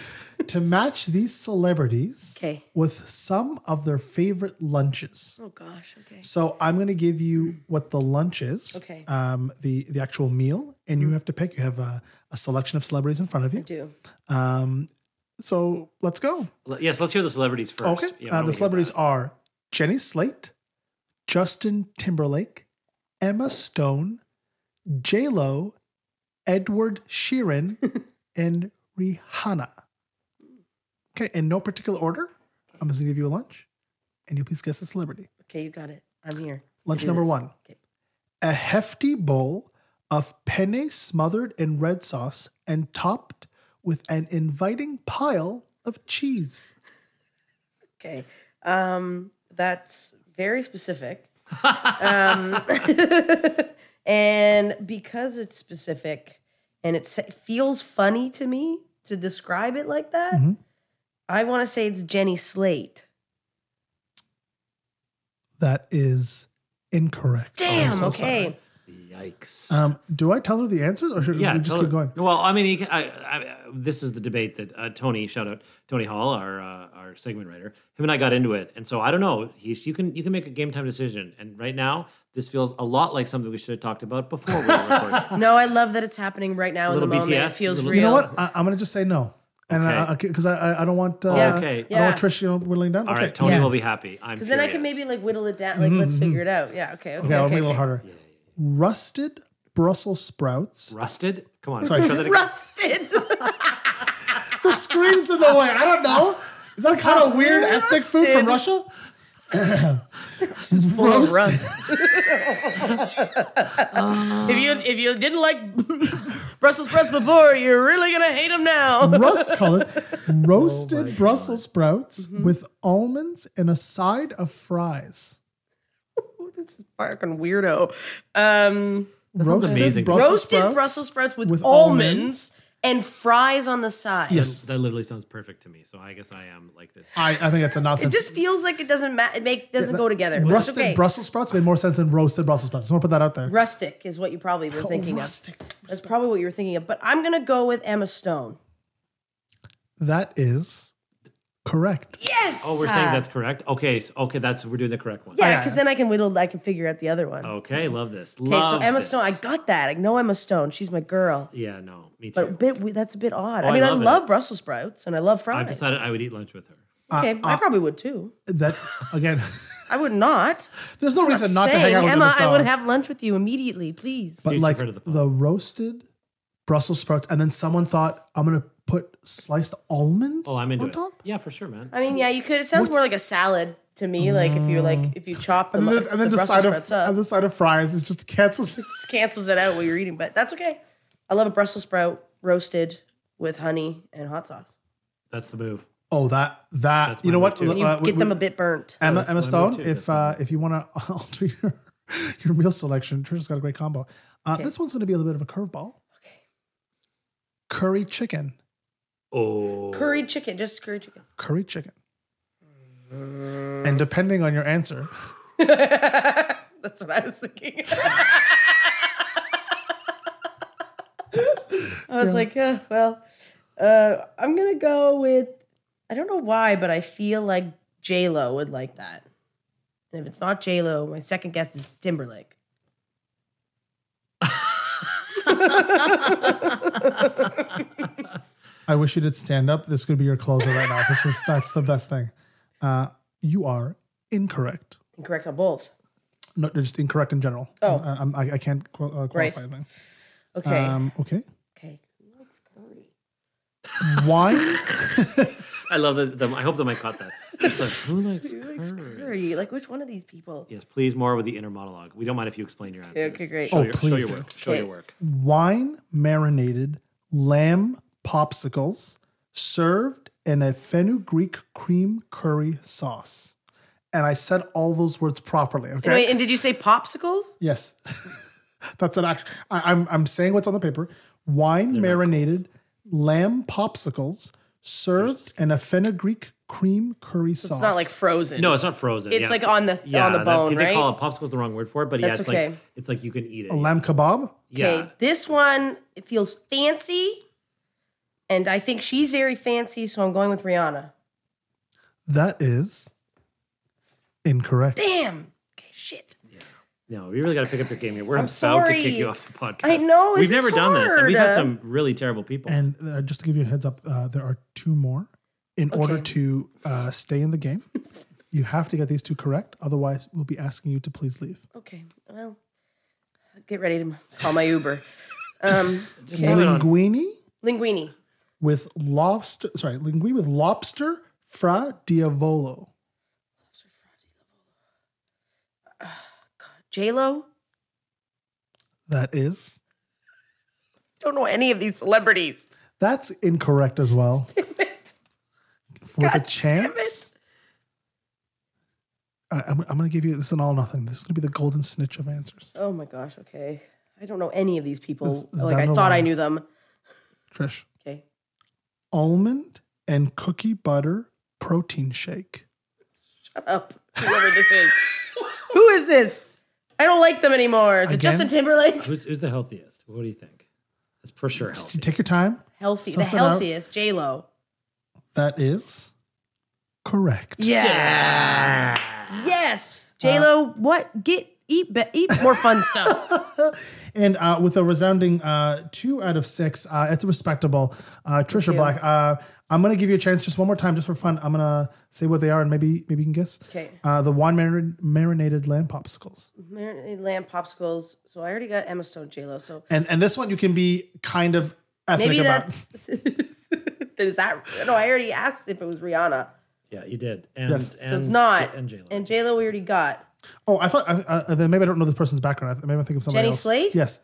S2: to match these celebrities
S3: Okay.
S2: with some of their favorite lunches.
S5: Oh gosh. Okay.
S2: So I'm going to give you what the lunch is.
S3: Okay. Mm-hmm.
S2: Um, the the actual meal, and you have to pick. You have a, a selection of celebrities in front of you.
S3: Do
S2: Um, so let's go.
S1: Yes, let's hear the celebrities first.
S2: Okay.
S1: Yeah, why
S2: uh,
S1: don't we
S2: the
S1: do
S2: celebrities
S1: that?
S2: are Jenny Slate, Justin Timberlake, Emma Stone, J Lo, Edward Sheeran,
S1: *laughs*
S2: and Rihanna. Okay, in no particular order. I'm just gonna give you a lunch, and you please guess the celebrity.
S3: okay. You got it. I'm here.
S2: Lunch
S3: do
S2: number
S3: this.
S2: one.
S3: Okay.
S2: A hefty bowl of penne smothered in red sauce and topped with an inviting pile of cheese.
S3: Okay. Um, that's
S5: *laughs*
S3: very specific. um, *laughs* and because it's specific and it's, it feels funny to me to describe it like that,
S2: Mhm.
S3: I want to say it's Jenny Slate.
S2: That is incorrect.
S3: Damn.
S2: Oh, I'm so
S3: okay.
S1: Yikes.
S2: sorry. Um, do I tell her the answers or should
S1: yeah,
S2: we just
S1: totally.
S2: keep going?
S1: Well, I mean, he can, I, I, this is the debate that uh, Tony, shout out Tony Hall, our uh, our segment writer, him and I got into it, and so I don't know. He, you can you can make a game time decision, and right now this feels a lot like something we should have talked about before we were
S2: *laughs*
S1: recording.
S3: No, I love that it's happening right now in the
S1: Little
S3: moment. It
S1: BTS,
S3: feels
S1: little-
S3: real.
S2: You know what? I, I'm going to just say no. And
S1: Okay.
S2: because I, I, I don't want uh,
S1: Yeah. Okay.
S2: I don't
S3: Yeah.
S2: want Trish you know, whittling down.
S1: All
S2: okay.
S1: right, Tony
S3: Yeah.
S1: will be happy. I'm
S3: Because then I can
S1: furious.
S3: maybe like whittle it down. Like, let's figure it out. Yeah. Okay. Okay.
S2: Okay, I'll
S3: okay,
S2: make it a little
S3: okay.
S2: harder. Rusted Brussels sprouts.
S1: rusted. Come on,
S2: Sorry.
S1: try that again.
S3: Rusted.
S2: the screen's in the way. I don't know. Is that kind of weird ethnic food from Russia?
S3: Full
S2: Roasted.
S3: of rust. *laughs*
S5: If you if you didn't like Brussels sprouts before, you're really gonna hate them now.
S2: *laughs* rust colored
S1: Oh
S2: roasted Brussels sprouts
S3: Mm-hmm.
S2: with almonds and a side of fries.
S3: *laughs* this is fucking weirdo. Um,
S2: roasted
S1: amazing.
S2: Brussels
S3: roasted
S2: sprouts
S3: Brussels sprouts with,
S2: with
S3: almonds, and fries on the side.
S2: Yes.
S1: That literally sounds perfect to me. So I guess I am like this.
S2: I, I think that's a
S3: It
S2: nonsense.
S3: just feels like it doesn't ma- it make doesn't go together. but it's
S2: Rusted
S3: okay.
S2: Brussels sprouts made more sense than roasted Brussels sprouts. I want to put that out there.
S3: rustic is what you probably
S2: Oh,
S3: were thinking of.
S2: rustic.
S3: That's probably what you were thinking of. But I'm gonna go with Emma Stone.
S2: That is correct.
S3: Yes. Uh,
S1: Oh, we're saying oh, that's correct. Okay, so, okay, that's we're doing the correct one.
S3: yeah, because then I can whittle. I can figure out the other one.
S1: Okay, Oh, love this.
S3: okay, so Emma Stone. I got that. I know Emma Stone. She's my girl.
S1: yeah, no, me too.
S3: But a bit we- that's a bit odd.
S1: Oh,
S3: I
S1: I
S3: mean, I love,
S1: love it.
S3: Brussels sprouts and I love
S1: I've
S3: fries.
S1: decided I would eat lunch with her.
S3: okay, I probably would too.
S2: That again, *laughs*
S3: I would not.
S2: there's no reason *laughs* not to hang
S3: Saying,
S2: out with
S3: Emma,
S2: Emma
S3: I
S2: Stone.
S3: would have lunch with you immediately, please.
S2: but
S1: Dude,
S2: like
S1: you've heard
S2: the,
S1: of the
S2: roasted Brussels sprouts, and then someone thought I'm gonna put sliced almonds
S1: Oh, I'm into
S2: on
S1: it.
S2: top.
S1: Yeah, for sure, man.
S3: I mean, yeah, you could. It sounds more like a salad to me. Like if you like if you chop them
S2: Mm. And
S3: up,
S2: then, and then the,
S3: the Brussels
S2: side of
S3: sprouts up,
S2: and the side of fries is just cancels.
S3: this cancels it out what you're eating. But that's okay. I love a Brussels sprout roasted with honey and hot sauce.
S1: That's the move.
S2: *laughs* Oh, that that
S1: That's
S2: you know
S1: my
S2: what?
S1: go-to.
S2: Look,
S3: You
S2: uh, we-
S3: get them
S2: we-
S3: a bit burnt.
S2: Emma,
S1: that's my
S2: Emma
S1: move
S2: Stone.
S1: too.
S2: If
S1: That's my
S2: uh, if you want to *laughs* alter your your meal selection, Trish's got a great combo. Uh, This one's going to be a little bit of a curveball.
S3: Okay.
S2: Curry chicken,
S1: Oh,
S3: Curried chicken, just curried chicken. *laughs*
S2: curry chicken, and depending on your answer,
S3: That's what I was thinking. *laughs* I was like, uh, well, uh, I'm gonna go with. I don't know why, but I feel like J Lo would like that. And if it's not J Lo, my second guess is Timberlake.
S2: I wish you did stand up. This could be your closer right now. This is that's the best thing. Uh, you are incorrect.
S3: Incorrect on both.
S2: No, they're just incorrect in general.
S3: Oh.
S2: I, I'm- I, I can't qual- uh,
S3: Right.
S2: qualify them.
S3: Okay.
S2: Um, okay.
S3: okay. Who likes curry?
S2: Wine.
S1: I love that. The, I hope the mic caught that. It's like, who likes curry?
S3: Curry. Like which one of these people?
S1: Yes, please more with the inner monologue. We don't mind if you explain your answer.
S3: okay, great.
S1: Show,
S2: Oh,
S1: your, show
S2: please
S1: your
S2: do.
S1: work. Show your
S3: Okay.
S1: work.
S2: wine marinated lamb popsicles served in a fenugreek cream curry sauce. And I said all those words properly, okay?
S3: Wait, and did you say popsicles?
S2: Yes. *laughs* That's an action. I, I'm, I'm saying what's on the paper. Wine marinated lamb popsicles served in a fenugreek cream curry sauce.
S3: It's not like frozen.
S1: No, it's not frozen.
S3: It's
S1: yeah.
S3: like on the
S1: yeah,
S3: on the
S1: that-
S3: bone,
S1: They
S3: right?
S1: call it popsicle's the wrong word for it, but yeah,
S3: That's
S1: it's like
S3: okay.
S1: it's like you can eat it.
S2: a lamb kebab.
S1: yeah.
S3: Okay, this one it feels fancy, and I think she's very fancy, so I'm going with Rihanna.
S2: That is incorrect.
S3: Damn. Okay, shit.
S1: No, we really got to pick up your game here. We're
S3: I'm
S1: about to
S3: sorry.
S1: kick you off the podcast.
S3: I know,
S1: We've
S3: this is
S1: never done this, and we've had
S3: hard.
S1: some really terrible people.
S2: And uh, just to give you a heads up, uh, there are two more. In order to uh, stay in the game, you have to get these two correct. Otherwise, we'll be asking you to please leave.
S3: Okay, well, get ready to call my Uber. Um,
S1: Just leave it on.
S2: Linguini
S3: linguini.
S2: with lobster. Sorry, linguini with lobster fra diavolo.
S3: J Lo.
S2: That is.
S3: Don't know any of these celebrities.
S2: That's incorrect as
S1: *laughs*
S2: well. With a chance. I, I'm, I'm going to give you this is an all nothing. This is going to be the golden snitch of answers.
S3: Oh my gosh. Okay, I don't know any of these people.
S2: This is
S3: like I
S2: down the
S3: thought I
S2: line.
S3: knew them.
S2: Trish.
S3: Okay,
S2: almond and cookie butter protein shake.
S3: shut up. Whoever this is. *laughs* Who is this? I don't like them anymore. Is it
S2: Again?
S3: Justin Timberlake?
S1: Who's, who's the healthiest? What do you think? That's for sure
S2: So
S1: healthy.
S2: take your time.
S3: Healthy.
S2: Suss
S3: the
S2: it out.
S3: healthiest. J Lo.
S2: That is correct.
S3: Yeah. Yes, J Lo. what? Get eat be- eat more *laughs* fun stuff.
S2: *laughs* And uh, with a resounding uh, two out of six, uh, it's respectable. Uh, Trisha Black, uh, I'm going to give you a chance just one more time, just for fun. I'm going to say what they are, and maybe maybe you can guess.
S3: Okay.
S2: Uh, the wine marin- marinated lamb popsicles.
S3: Marinated lamb popsicles. So I already got Emma Stone, J Lo. So
S2: And and this one you can be kind of ethnic
S3: maybe
S2: about.
S3: that. Then *laughs* is that? No, I already asked if it was Rihanna.
S1: Yeah, you did. And,
S2: Yes. So
S1: and,
S3: So it's not.
S1: And J-Lo.
S3: And J Lo, we already got.
S2: oh, I thought uh, uh, then maybe I don't know this person's background. I th- Maybe I think of somebody
S3: Jenny
S2: else.
S3: Slate?
S2: Yes.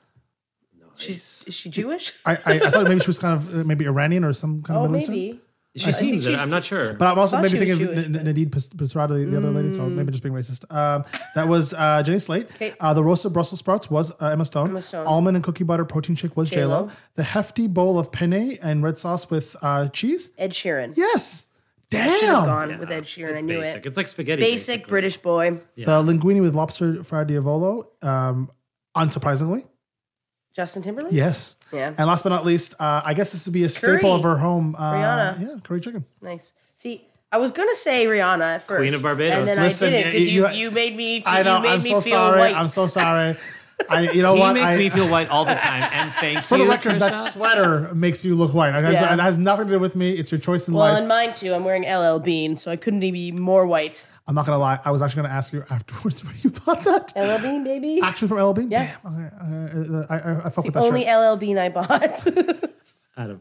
S3: She's is she Jewish? *laughs*
S2: I, I, I thought maybe she was kind of uh, maybe Iranian or some kind
S3: Oh,
S2: of Middle Eastern.
S3: maybe.
S1: She seems it.
S3: she's-
S1: I'm not sure.
S2: But I'm also
S3: thought
S2: maybe
S3: she
S2: thinking
S3: was Jewish,
S2: of N-
S3: but- Mm.
S2: N- Nadine Pis- Pisrato, the, the other lady, so maybe just being racist. Um, that was uh, Jenny Slate. Uh, the roasted Brussels sprouts was uh, Emma, Stone.
S3: Stone.
S2: Almond and cookie butter protein shake was J-Lo.
S3: J.Lo.
S2: The hefty bowl of penne and red sauce with uh, cheese.
S3: Ed Sheeran.
S2: Yes.
S3: I should have
S2: Damn.
S3: gone with Ed Sheeran. I knew
S1: basic.
S3: it.
S1: It's like spaghetti.
S3: Basic
S1: basically.
S3: British boy.
S2: The linguine with lobster fried diavolo. Um, unsurprisingly.
S3: Justin Timberlake.
S2: Yes.
S3: Yeah.
S2: And last but not least, uh, I guess this would be a staple of
S3: Curry.
S2: her home. Uh,
S3: Rihanna.
S2: Yeah, curry chicken.
S3: Nice. See, I was gonna say Rihanna at first.
S1: Queen of Barbados.
S3: And then
S2: Listen,
S3: I didn't because
S2: you-
S3: you,
S2: you-
S3: you, made me.
S2: I know.
S3: You made
S2: I'm
S3: me
S2: so
S3: feel
S2: sorry.
S3: White.
S2: I'm so
S3: *laughs*
S2: sorry. I, you know
S1: He
S2: what?
S1: makes
S2: I-
S1: me feel white *laughs* all the time, and thank
S2: For
S1: you.
S2: the record, that
S1: Trisha.
S2: sweater makes you look white. Okay?
S3: Yeah.
S2: It has nothing to do with me. It's your choice in
S3: well,
S2: life.
S3: and mine too. I'm wearing LL Bean, so I couldn't be more
S2: *sighs*
S3: white.
S2: I'm not gonna lie. I was actually gonna ask you afterwards *laughs* where you bought that.
S3: LL Bean, baby.
S2: Actually, from LB.
S3: Yeah.
S2: Damn. Okay. I, I, I, I fuck with that
S3: Only
S2: shirt.
S3: LL Bean I bought. *laughs*
S1: Adam,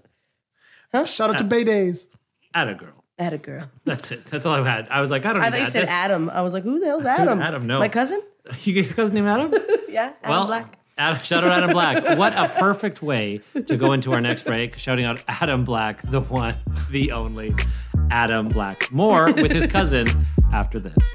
S2: Shout out to Bay Days.
S1: Adam girl.
S3: At a girl.
S1: That's it. That's all I've had. I was like, I don't.
S3: I
S1: need
S3: thought you
S1: that.
S3: said
S1: That's-
S3: Adam. I was like, who the hell's Adam?
S1: Adam? No.
S3: My cousin?
S1: *laughs* You get your cousin named Adam.
S3: Yeah. Adam
S1: well,
S3: Black.
S1: Adam, shout out Adam Black. What a perfect way to go into our next break, shouting out Adam Black, the one, the only Adam Black. More with his cousin after this.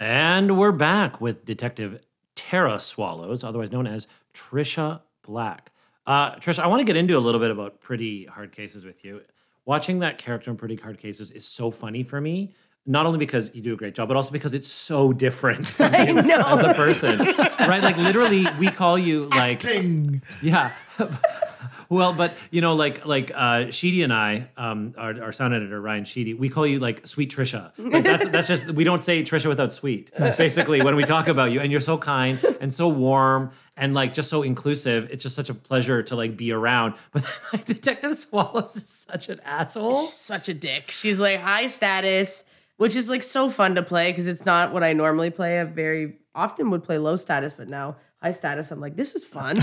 S1: And we're back with Detective Tara Swallows, otherwise known as Trisha Black. Uh, Trisha, I want to get into a little bit about Pretty Hard Cases with you. Watching that character in Pretty Hard Cases is so funny for me, not only because you do a great job, but also because it's so different from you as a person, right? Like literally, we call you like
S2: Ding.
S1: yeah. well, but you know, like like uh Sheedy and I, um, our, our sound editor Ryan Sheedy, we call you like Sweet Trisha. Like, that's that's just we don't say Trisha without sweet. Basically, when we talk about you, and you're so kind and so warm and like just so inclusive. It's just such a pleasure to like be around. But *laughs* like Detective Swallows is such an asshole.
S5: such a dick. She's like high status, which is like so fun to play because it's not what I normally play. I very often would play low status, but now high status, I'm like, this is fun.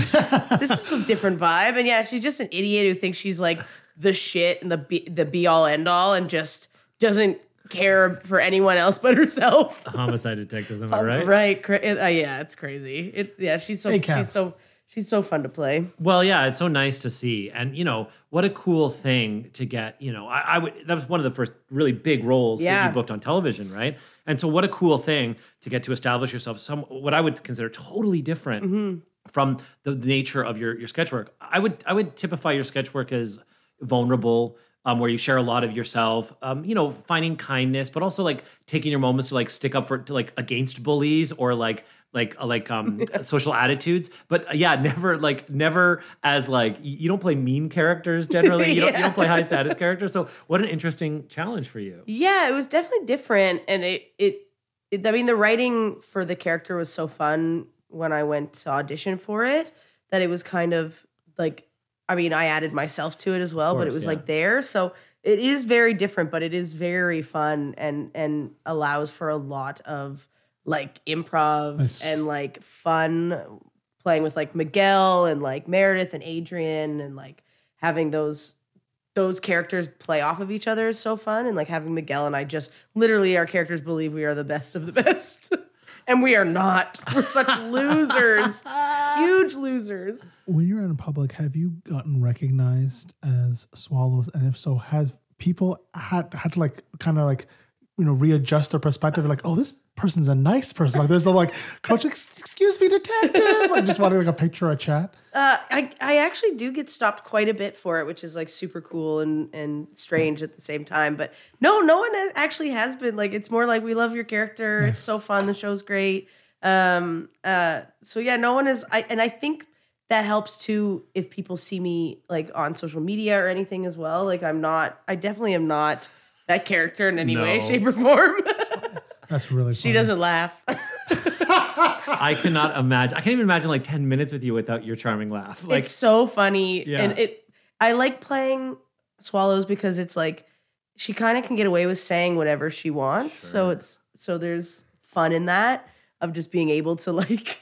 S5: this is a different vibe. And yeah, she's just an idiot who thinks she's like the shit and the be, the be all end all and just doesn't care for anyone else but herself.
S1: Homicide detectives, am I right?
S5: Right? Cra- it- uh, yeah, it's crazy. It yeah, she's so
S2: Hey, Cap.
S5: she's so she's so fun to play.
S1: Well, yeah, it's so nice to see. And, you know, what a cool thing to get. You know, I, I would, that was one of the first really big roles that
S5: Yeah.
S1: you booked on television, right? And so, what a cool thing to get to establish yourself, some, what I would consider totally different from the nature of your, your sketch work. I would, I would typify your sketch work as vulnerable. Um, where you share a lot of yourself, um, you know, finding kindness, but also like taking your moments to like stick up for to like against bullies or like like uh, like um social attitudes but uh, yeah *laughs* never like never as like y- you don't play mean characters generally you, don't, you don't play high status characters so what an interesting challenge for you
S3: Yeah, it was definitely different, and it, it it. I mean, the writing for the character was so fun when I went to audition for it that it was kind of like. I mean, I added myself to it as well, but it
S1: course,
S3: was
S1: yeah.
S3: like there, so it is very different, but it is very fun and and allows for a lot of like improv
S2: Nice.
S3: and like fun playing with like Miguel and like Meredith and Adrian and like having those those characters play off of each other is so fun and like having Miguel and I just literally our characters believe we are the best of the *laughs* best. and we are not. We're such losers. Huge losers.
S2: When you're in public, have you gotten recognized as swallows? And if so, has people had had to like kind of like you know readjust their perspective? Like, oh, this person's a nice person. Like, there's a like, coach, ex- excuse me, detective. I just wanted like a picture, or a chat.
S3: Uh, I I actually do get stopped quite a bit for it, which is like super cool and and strange at the same time. But no, no one has, actually has been like. It's more like we love your character. It's so fun. The show's great. Um. Uh. So yeah, no one is. I and I think that helps too if people see me like on social media or anything as well. Like I'm not. I definitely am not that character in any way,
S1: No.
S3: shape, or form. *laughs*
S2: That's really.
S5: She doesn't laugh.
S1: i cannot imagine i can't even imagine like 10 minutes with you without your charming laugh like
S3: it's so funny
S1: Yeah.
S3: and it i like playing swallows because it's like she kind of can get away with saying whatever she wants so it's so there's fun in that of just being able to like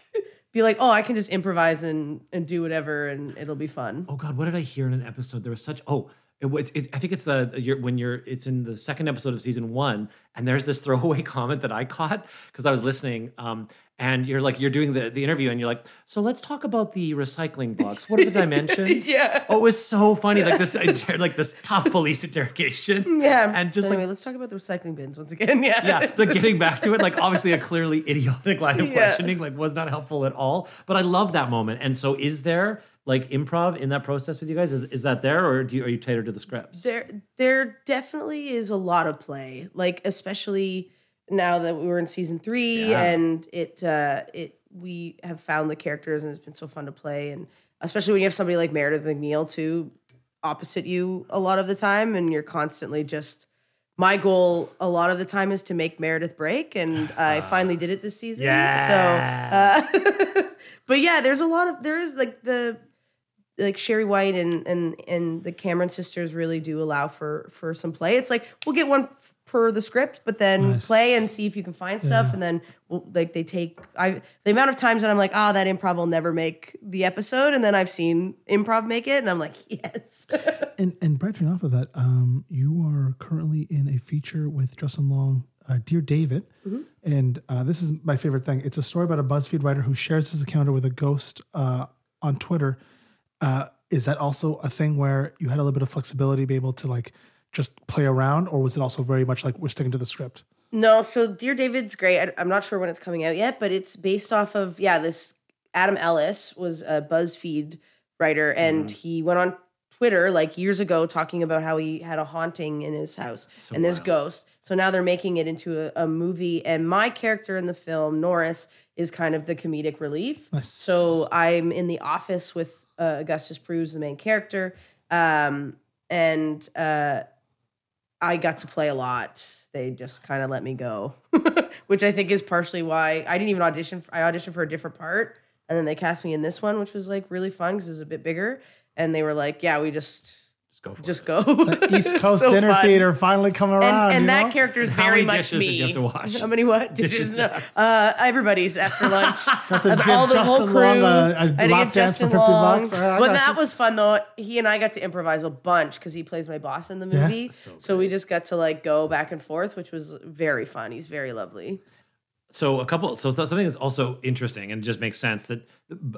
S3: *laughs* be like, oh, I can just improvise and and do whatever, and it'll be fun.
S1: oh god what did i hear in an episode there was such oh it was it, i think it's the you're, when you're it's in the second episode of season one and there's this *laughs* throwaway comment that i caught because i was listening um and you're like you're doing the, the interview and you're like so let's talk about the recycling box what are the dimensions yeah oh it was so funny like this *laughs* inter- like this tough police interrogation
S3: Yeah.
S1: and just
S3: anyway,
S1: like
S3: let's talk about the recycling bins once again. *laughs* Yeah.
S1: yeah, like getting back to it, like obviously a clearly idiotic line of
S3: Yeah.
S1: questioning, like was not helpful at all. But I love that moment. And so, is there like improv in that process with you guys? Is is that there, or do you, are you tethered to the scripts?
S3: There, there definitely is a lot of play, like especially now that we were in season three,
S1: Yeah.
S3: and it, uh, it, we have found the characters, and it's been so fun to play, and especially when you have somebody like Meredith McNeil too opposite you a lot of the time, and you're constantly just. My goal a lot of the time is to make Meredith break, and I finally did it this season. So, uh, *laughs* but yeah, there's a lot of there is like the like Sherry White and and and the Cameron sisters really do allow for for some play. It's like we'll get one f- per the script, but then play and see if you can find stuff, and then we'll, like they take I the amount of times that I'm like, ah, that improv will never make the episode, and then I've seen improv make it, and I'm like, *laughs* yes,
S2: And and branching off of that, um, you are currently in a feature with Justin Long, uh, Dear David,
S3: Mm-hmm.
S2: and uh, this is my favorite thing. It's a story about a BuzzFeed writer who shares his encounter with a ghost uh, on Twitter. Uh, is that also a thing where you had a little bit of flexibility to be able to like just play around, or was it also very much like we're sticking to the script?
S3: No, so Dear David's great. I, I'm not sure when it's coming out yet, but it's based off of yeah, this Adam Ellis was a BuzzFeed writer, and he went on Twitter like years ago talking about how he had a haunting in his house and this ghost. So now they're making it into a, a movie, and my character in the film Norris is kind of the comedic relief. So *laughs* I'm in the office with uh, Augustus Proves, the main character, um, and. Uh, I got to play a lot. They just kind of let me go, *laughs* which I think is partially why I didn't even audition. For, I auditioned for a different part, and then they cast me in this one, which was like really fun because it was a bit bigger. And they were like, "Yeah, we just just go, just go."
S2: East Coast
S3: So
S2: Dinner
S3: fun.
S2: Theater finally coming
S3: *laughs* And,
S2: around.
S3: and
S2: you
S3: that
S2: know?
S3: character is
S1: How
S3: very
S1: many
S3: much
S1: dishes
S3: me.
S1: did you have to wash?
S3: How many
S1: *laughs*
S3: what
S1: Dishes
S3: dishes? no. Uh, everybody's after lunch.
S2: to
S3: all
S2: give
S3: the whole
S2: Justin
S3: crew.
S2: Long a- a
S3: I had to
S2: lap dance for
S3: give Justin
S2: 50
S3: Long.
S2: bucks. I- I
S3: but
S2: got
S3: that
S2: you.
S3: was fun though. He and I got to improvise a bunch because he plays my boss in the movie. so we just got to like go back and forth, which was very fun. He's very lovely.
S1: so a couple so th- something that's also interesting and just makes sense that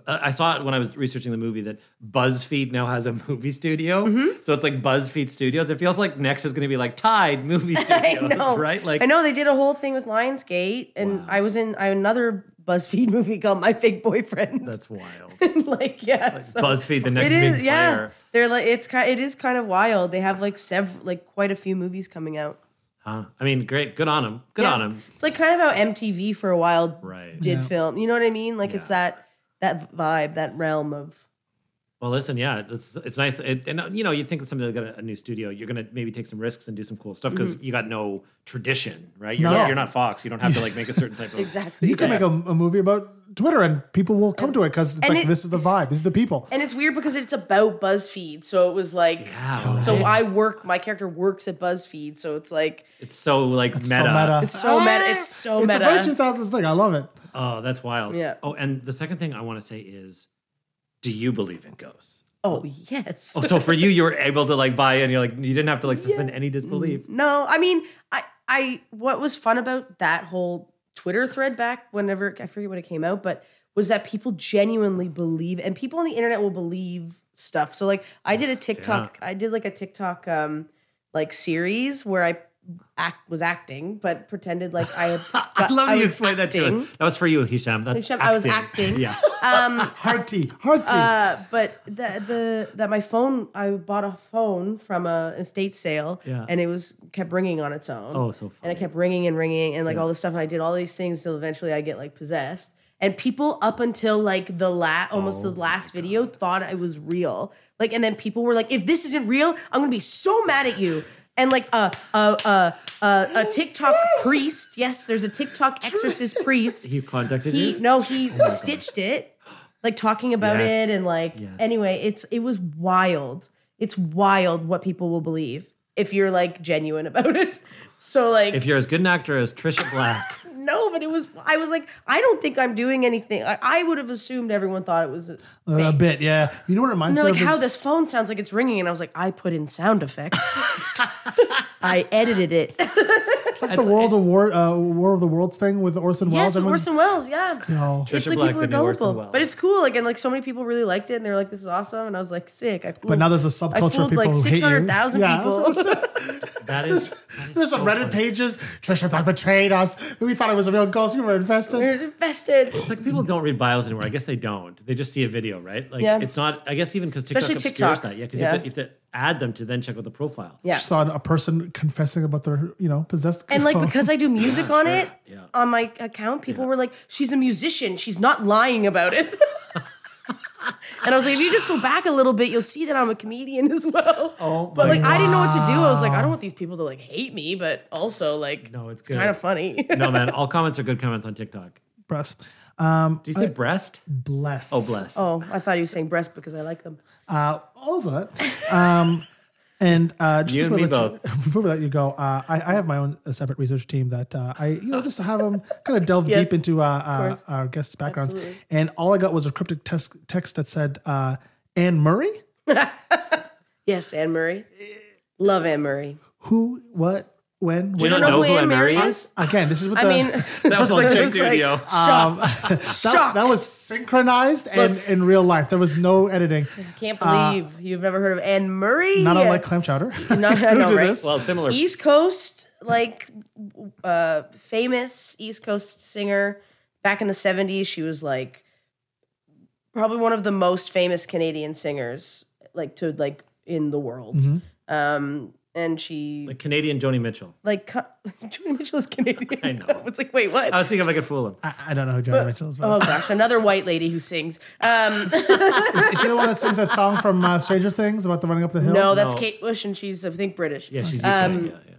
S1: uh, i saw it when i was researching the movie that buzzfeed now has a movie studio
S3: Mm-hmm.
S1: so it's like buzzfeed studios it feels like next is going to be like tide
S3: *laughs*
S1: movie studios
S3: know.
S1: right like
S3: I know they did a whole thing with Lionsgate, and I was in I, another BuzzFeed *laughs* movie called My Fake Boyfriend.
S1: that's wild
S3: *laughs*
S1: *laughs*
S3: like yeah, so-
S1: buzzfeed the next
S3: it
S1: big
S3: is
S1: player
S3: yeah. They're like it's kind it is kind of wild. They have like several like quite a few movies coming out.
S1: Huh? Uh, I mean, great. Good on him. Good
S3: Yeah.
S1: on him.
S3: It's like kind of how MTV for a while
S1: Right.
S3: did film. You know what I mean? Like it's that that vibe, that realm of
S1: Well, listen, yeah, it's it's nice. It, and uh, you know, you think that somebody that got a, a new studio, you're gonna maybe take some risks and do some cool stuff
S3: Mm-hmm.
S1: because you got no tradition, right? You're,
S2: No.
S1: not, you're not Fox. You don't have to like make a certain type of
S3: *laughs* exactly.
S2: You could make a, a movie about Twitter, and people will come to it because it's
S3: and
S2: like
S3: it-
S2: this is the vibe. These are the people.
S3: And it's weird because it's about BuzzFeed, so it was like
S1: Yeah,
S3: Oh, so I work my character works at BuzzFeed, so it's like
S1: It's so like meta.
S2: So meta.
S3: it's so meta it's so
S2: it's
S3: Oh, meta.
S2: a very 2000s thing. I love it.
S1: Oh, that's wild.
S3: Yeah.
S1: Oh, and the second thing I want to say is, do you believe in ghosts?
S3: oh yes.
S1: Oh, so for you, you were able to like buy in. You're like, you didn't have to like suspend any disbelief.
S3: No, I mean, I, I, what was fun about that whole Twitter thread back whenever I forget when it came out, but was that people genuinely believe, and people on the internet will believe stuff. So like, I did a TikTok, I did like a TikTok, um, like series where I act was acting, but pretended like I
S1: *laughs*
S3: had.
S1: I love that you
S3: was
S1: explained that to
S3: acting.
S1: us. That was for you, Hisham. That's
S3: Hisham, I was acting.
S1: Yeah.
S2: Hearty, hearty.
S3: Uh, but the, the that my phone, I bought a phone from a estate sale,
S1: Yeah.
S3: and it was kept ringing on its own.
S1: Oh, so
S3: and
S1: funny.
S3: I kept ringing and ringing and like all this stuff, and I did all these things till eventually I get like possessed. And people up until like the last, almost
S1: Oh
S3: the last video, thought I was real. Like, and then people were like, "If this isn't real, I'm gonna be so mad at you." And like a a a a, a
S1: *laughs*
S3: TikTok priest, yes, there's a TikTok exorcist priest
S1: He contacted
S3: he
S1: you. Oh
S3: no he stitched it like talking about
S1: Yes.
S3: it and like
S1: Yes.
S3: anyway it's it was wild it's wild what people will believe if you're like genuine *laughs* about it so like *laughs*
S1: If you're as good an actor as Trisha Black,
S3: no, but it was. I was like, I don't think I'm doing anything. I, I would have assumed everyone thought it was. A,
S2: a bit, yeah. You know what it reminds
S3: and they're
S2: me
S3: like,
S2: of?
S3: how
S2: is-
S3: this phone sounds like it's ringing, and I was like, I put in sound *laughs* effects. I edited it.
S2: It's like the World of War, uh, War of the Worlds thing with Orson Welles.
S3: yes,
S2: Everyone-
S3: Orson Welles. Yeah.
S2: No.
S3: It's
S1: Trisha
S3: like
S1: Black,
S3: people
S1: the
S3: are
S1: new Orson
S3: gullible,
S1: Welles.
S3: but it's cool. Like and like so many people really liked it, and they were like, "This is awesome," and I was like, "Sick!" I fooled,
S2: But now there's a
S3: I
S2: subculture of
S3: fooled
S2: people
S3: like
S2: who hate
S3: six
S2: you.
S3: hundred thousand
S2: Yeah, *laughs*
S3: people. *laughs*
S2: I was gonna say,
S1: That is, that is
S2: there's
S1: so
S2: some Reddit
S1: funny.
S2: pages. Trisha Black betrayed us. We thought it was a real ghost. We were invested.
S3: They're invested.
S1: It's like people don't read bios anymore. I guess they don't. They just see a video, right? Like
S3: Yeah.
S1: it's not. I guess even because TikTok
S3: Especially
S1: obscures
S3: TikTok.
S1: that. Yeah, because
S3: Yeah.
S1: you, have to- you have to add them to then check out the profile.
S3: Yeah.
S2: Saw a person confessing about their, you know, possessed.
S3: And like
S2: phone.
S3: because I do music on it,
S1: Yeah.
S3: on my account, people were like, "She's a musician. She's not lying about it." *laughs* and I was like, "If you just go back a little bit, you'll see that I'm a comedian as well."
S1: Oh
S3: but
S1: my
S3: like I didn't know what to do. I was like, "I don't want these people to like hate me, but also like,
S1: No, it's good.
S3: kind of funny."
S1: no, man. All comments are good comments on TikTok.
S2: Press. Um,
S1: Do you say breast?
S2: bless.
S1: Oh, bless.
S3: *laughs* oh, I thought you were saying breast because I like them.
S2: Uh, also that. Um, and uh, just
S1: You and
S2: before,
S1: me
S2: we let You, *laughs* before we let you go, uh, I, I have my own uh, separate research team that uh, I, you know, just to have them kind of delve deep into uh, uh, our guests' backgrounds. And all I got was a cryptic text, text that said uh, Anne Murray.
S3: Yes, Anne Murray. Love Anne Murray.
S2: Who? What? When?
S1: Do you
S2: Where?
S1: not know, who Anne Mary is?
S2: Again, this is what
S3: I
S2: the.
S3: mean,
S1: *laughs*
S3: *laughs*
S1: That was like
S3: It's
S1: Chick
S3: like-
S1: Studio.
S3: *laughs*
S2: that, that was synchronized and in real life. There was no editing.
S3: can't
S1: Uh,
S3: believe you've never heard of Anne Murray.
S2: Not
S1: *laughs*
S2: unlike clam chowder. *laughs*
S3: No, *laughs* I know,
S2: do
S3: right?
S2: this?
S1: well, Oh, similar.
S3: East Coast, like uh, famous East Coast singer back in the 70s. She was like probably one of the most famous Canadian singers, like to like in the world.
S1: Mm-hmm.
S3: Um, and she
S1: like Canadian Joni Mitchell.
S3: like, *laughs* co- Joni Mitchell is Canadian.
S1: I
S3: *laughs*
S1: know.
S3: It's like, wait, what?
S1: I was thinking if I could fool him.
S2: I, I don't know who Johnny Mitchell is.
S3: oh
S2: But
S3: gosh, another white lady who sings. Um,
S2: Is she the one that sings that song from uh, Stranger Things about the running up the hill?
S3: no, that's
S1: No.
S3: Kate Bush, and she's I think British.
S1: Yeah, she's UK.
S3: Um,
S1: yeah, yeah.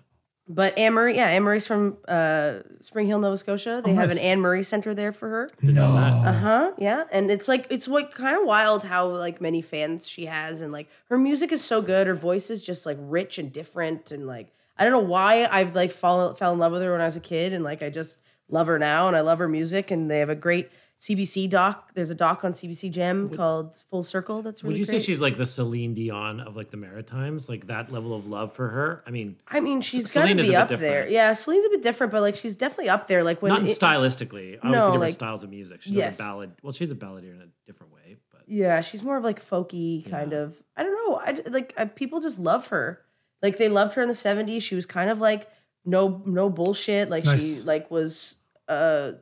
S3: But Anne Marie, yeah, Anne Marie's from uh, Spring Hill, Nova Scotia.
S1: Oh,
S3: They have
S2: nice.
S3: an Anne Marie Center there for her.
S1: No.
S3: Uh huh. Yeah, and it's like it's like kind of wild how like many fans she has, and like her music is so good. Her voice is just like rich and different, and like I don't know why I've like fall, fell in love with her when I was a kid, and like I just love her now, and I love her music, and they have a great CBC doc. There's a doc on CBC Gem called Full Circle. That's really
S1: Would you say
S3: great.
S1: she's like the Celine Dion of like the Maritimes? Like that level of love for her? I mean,
S3: I mean, she's
S1: Celine
S3: got to
S1: is a
S3: be
S1: bit
S3: up
S1: different.
S3: there. Yeah, Celine's a bit different, but like she's definitely up there. Like when
S1: not in
S3: it-
S1: stylistically. Obviously, different
S3: like-
S1: styles of music. She's
S3: Yes.
S1: not a ballad. Well, she's a balladeer in a different way, but
S3: Yeah, she's more of like folky kind of. I don't know. I like I, people just love her. Like they loved her in the '70s. She was kind of like no no bullshit. Like
S2: Nice.
S3: she like was uh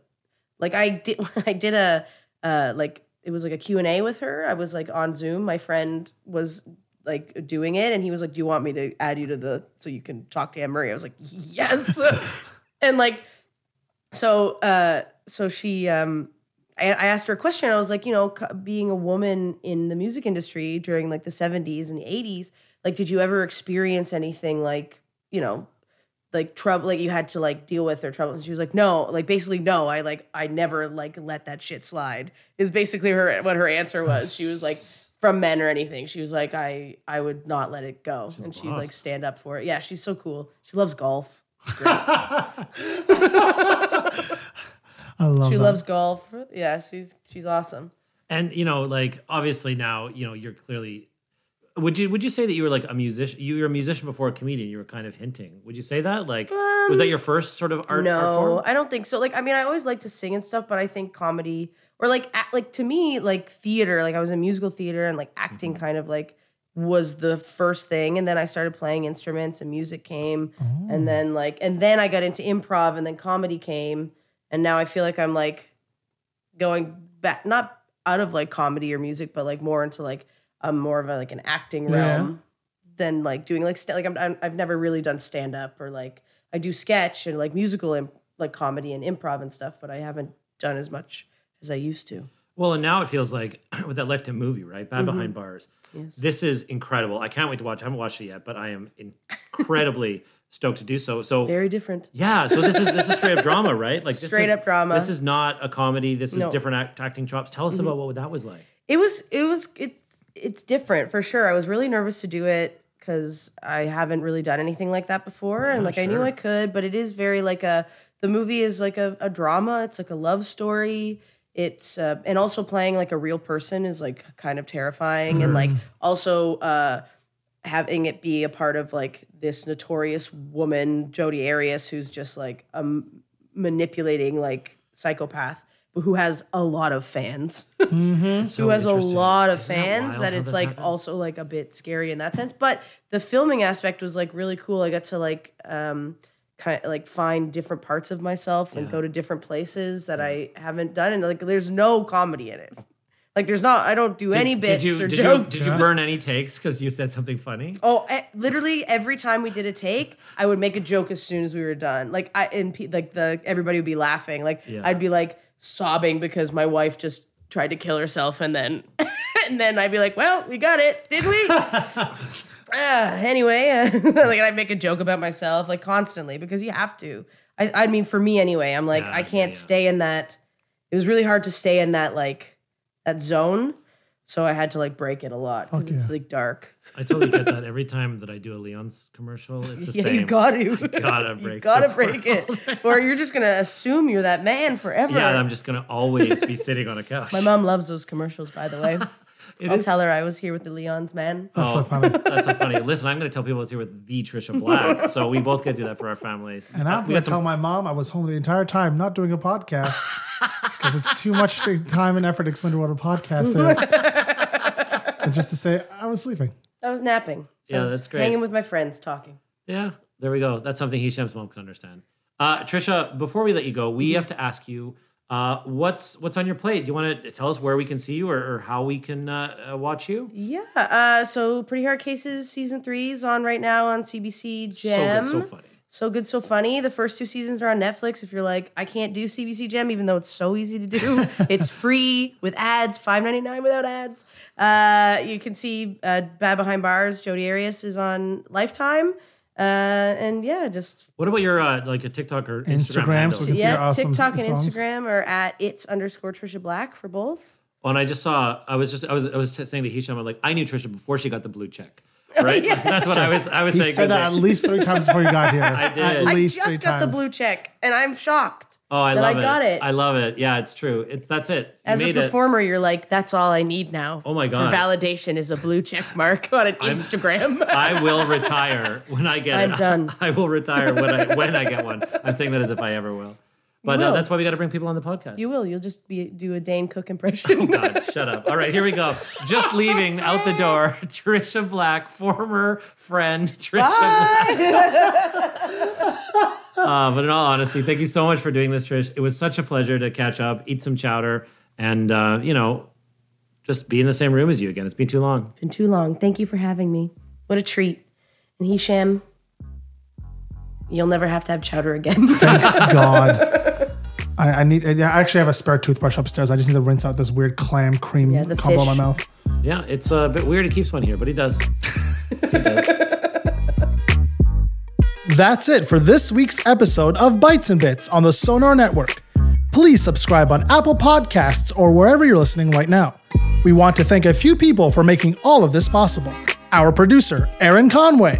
S3: like I did *laughs* I did a uh like it was like a Q&A with her. I was like on Zoom. My friend was like doing it and he was like, "Do you want me to add you to the so you can talk to Anne Marie?" I was like, "Yes." and like so uh so she um I, I asked her a question. I was like, you know, c- being a woman in the music industry during like the 70s and 80s, like, did you ever experience anything like, you know, like trouble, like you had to like deal with their troubles? And she was like, no, like basically, no, I like, I never like let that shit slide, is basically her, what her answer was. She was like, from men or anything. She was like, I, I would not let it go. and she'd like
S1: boss.
S3: stand up for it. Yeah, she's so cool. She loves golf.
S2: I love
S3: She
S2: that.
S3: loves golf. Yeah, she's, she's awesome.
S1: and you know, like obviously now, you know, you're clearly. Would you would you say that you were like a musician? You were a musician before a comedian. You were kind of hinting. Would you say that? Like, was that your first sort of art? art
S3: Um, no
S1: form?
S3: i don't think so like i mean i always like to sing and stuff but i think comedy or like a- like to me like theater like i was in musical theater and like acting
S1: Mm-hmm.
S3: kind of like was the first thing and then i started playing instruments and music came
S2: Oh, Hmm.
S3: and then like and then i got into improv and then comedy came and now i feel like i'm like going back not out of like comedy or music but like more into like a more of a, like an acting
S2: Yeah.
S3: realm than like doing like st- like I'm, I'm I've never really done stand up or like I do sketch and like musical and like comedy and improv and stuff, but I haven't done as much as I used to.
S1: Well, and now it feels like *clears throat* with that Lifetime movie, right?
S3: Mm-hmm.
S1: Bad Behind Bars. This is incredible. I can't wait to watch. I haven't watched it yet, but I am incredibly *laughs* stoked to do so. So
S3: Very different.
S1: yeah, so this is this is straight up drama, right? Like this
S3: Straight
S1: is-
S3: up drama.
S1: This is not a comedy. This is
S3: No. Mm-hmm.
S1: different act, acting chops. Tell us about what that was like.
S3: It was it was it it's different for sure. I was really nervous to do it because I haven't really done anything like that before, and like I knew
S1: sure.
S3: I could, but it is very like a the movie is like a, a drama. It's like a love story. It's uh, and also playing like a real person is like kind of terrifying, and like also uh, having it be a part of like this notorious woman Jodi Arias who's just like a m- manipulating like psychopath, but who has a lot of fans.
S1: Mm-hmm.
S3: *laughs* who has a lot of fans that, it's like also like a bit scary in that sense but the filming aspect was like really cool i got to like um kind like find different parts of myself and go to different places that i haven't done and like there's no comedy in it like there's not i don't do any bits
S1: did you,
S3: or
S1: did you,
S3: jokes
S1: did you burn any takes because you said something funny?
S3: Oh, e- literally every time we did a take, I would make a joke as soon as we were done. Like I and pe- like the everybody would be laughing. Like I'd be like sobbing because my wife just tried to kill herself, and then *laughs* and then I'd be like, "Well, we got it,
S1: *laughs*
S3: did we?" uh, anyway, uh, *laughs* like I'd make a joke about myself like constantly because you have to. I, I mean, for me anyway, I'm like
S1: Yeah,
S3: I can't
S1: yeah, yeah.
S3: stay in that. It was really hard to stay in that like that zone, so I had to like break it a lot because
S2: Fuck
S3: it's
S2: yeah.
S3: like dark.
S1: I totally get that. Every time that I do a Leon's commercial, it's the
S3: *laughs* Yeah,
S1: same.
S3: you got to.
S1: gotta break.
S3: *laughs* You gotta
S1: the
S3: break it, *laughs* or you're just gonna assume you're that man forever.
S1: Yeah, I'm just gonna always be sitting on a couch.
S3: *laughs* My mom loves those commercials, by the way.
S1: *laughs* It
S3: I'll
S1: is- Oh,
S3: tell her I was here with the Leon's man. *laughs*
S2: That's so funny.
S1: That's so funny. Listen, I'm gonna tell people it's here with the Trisha Black, so we both get to do that for our families.
S2: And I'm
S1: we
S2: going
S1: got
S2: to tell my mom I was home the entire time, not doing a podcast, because it's too much time and effort expended what a podcast
S3: *laughs*
S2: is. and just to say, I was sleeping.
S3: I was napping. I
S1: Yeah,
S3: was
S1: that's great.
S3: Hanging with my friends, talking.
S1: Yeah, there we go. That's something Hisham's mom can understand. Uh, Trisha, before we let you go,
S2: Mm-hmm.
S1: we have to ask you uh, what's what's on your plate. Do you want to tell us where we can see you or, or how we can uh, uh, watch you?
S3: Yeah. Uh, so, Pretty Hard Cases season three is on right now on CBC Gem.
S1: So good, so funny.
S3: So good, so funny. The first two seasons are on Netflix. If you're like, I can't do CBC Gem, even though it's so easy
S2: *laughs*
S3: to do, it's free with ads, five ninety nine without ads. Uh, you can see uh, Bad Behind Bars. Jodi Arias is on Lifetime, uh, and yeah, just
S1: What about your uh, like a TikTok or Instagram?
S2: Instagram,
S1: handle?
S2: so we can see
S3: yeah,
S2: your awesome
S3: TikTok and
S2: songs.
S3: Instagram are at it's underscore Trisha Black for both.
S1: Oh, and I just saw. I was just. I was. I was saying to Hisham. I'm like, I knew Trisha before she got the blue
S3: *laughs*
S1: check. Right.
S3: yeah,
S1: that's what I was. I was
S2: He
S1: saying.
S2: said that at least three times before you got here. I
S1: did.
S2: At
S1: I
S2: least
S3: I
S2: three
S3: just got
S2: times.
S3: the blue check, and I'm shocked.
S1: Oh, I
S3: that
S1: love
S3: I got it.
S1: I love it. Yeah, it's true. It's that's it. You
S3: As a
S1: made it.
S3: performer, you're like, that's all I need now.
S1: Oh my
S3: for
S1: God.
S3: validation is a blue check mark on an Instagram.
S1: *laughs*
S3: *laughs*
S1: I will retire when I get
S3: I'm
S1: it.
S3: done.
S1: *laughs* I will retire when I when I get one. I'm saying that as if I ever will. But uh,
S3: will.
S1: that's why we got to bring people on the podcast.
S3: You will. You'll just be do a Dane Cook impression.
S1: *laughs* God, shut up. All right, here we go.
S3: *laughs*
S1: Just leaving out the door, *laughs* Trisha Black, former friend Trisha Black. Uh, but in all honesty, thank you so much for doing this, Trish. It was such a pleasure to catch up, eat some chowder, and uh, you know, just be in the same room as you again. It's been too long.
S3: Been too long. Thank you for having me. What a treat. And Hisham, you'll never have to have chowder again.
S2: God. I, I need. I actually have a spare toothbrush upstairs. I just need to rinse out this weird clam cream
S3: the
S2: combo in my
S3: fish.
S2: mouth.
S1: Yeah, it's a bit weird. He keeps one here, but he does.
S2: That's it for this week's episode of Bites and Bits on the Sonar Network. Please subscribe on Apple Podcasts or wherever you're listening right now. We want to thank a few people for making all of this possible. Our producer, Aaron Conway.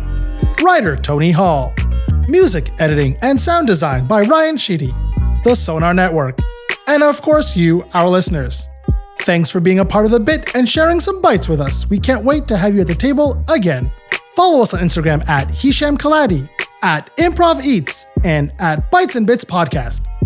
S2: Writer, Tony Hall. Music, editing, and sound design by Ryan Sheedy. The Sonar Network. And of course, you, our listeners. Thanks for being a part of the bit and sharing some bites with us. We can't wait to have you at the table again. Follow us on Instagram at Hisham Kaladi, at Improv Eats, and at Bites and Bits Podcast.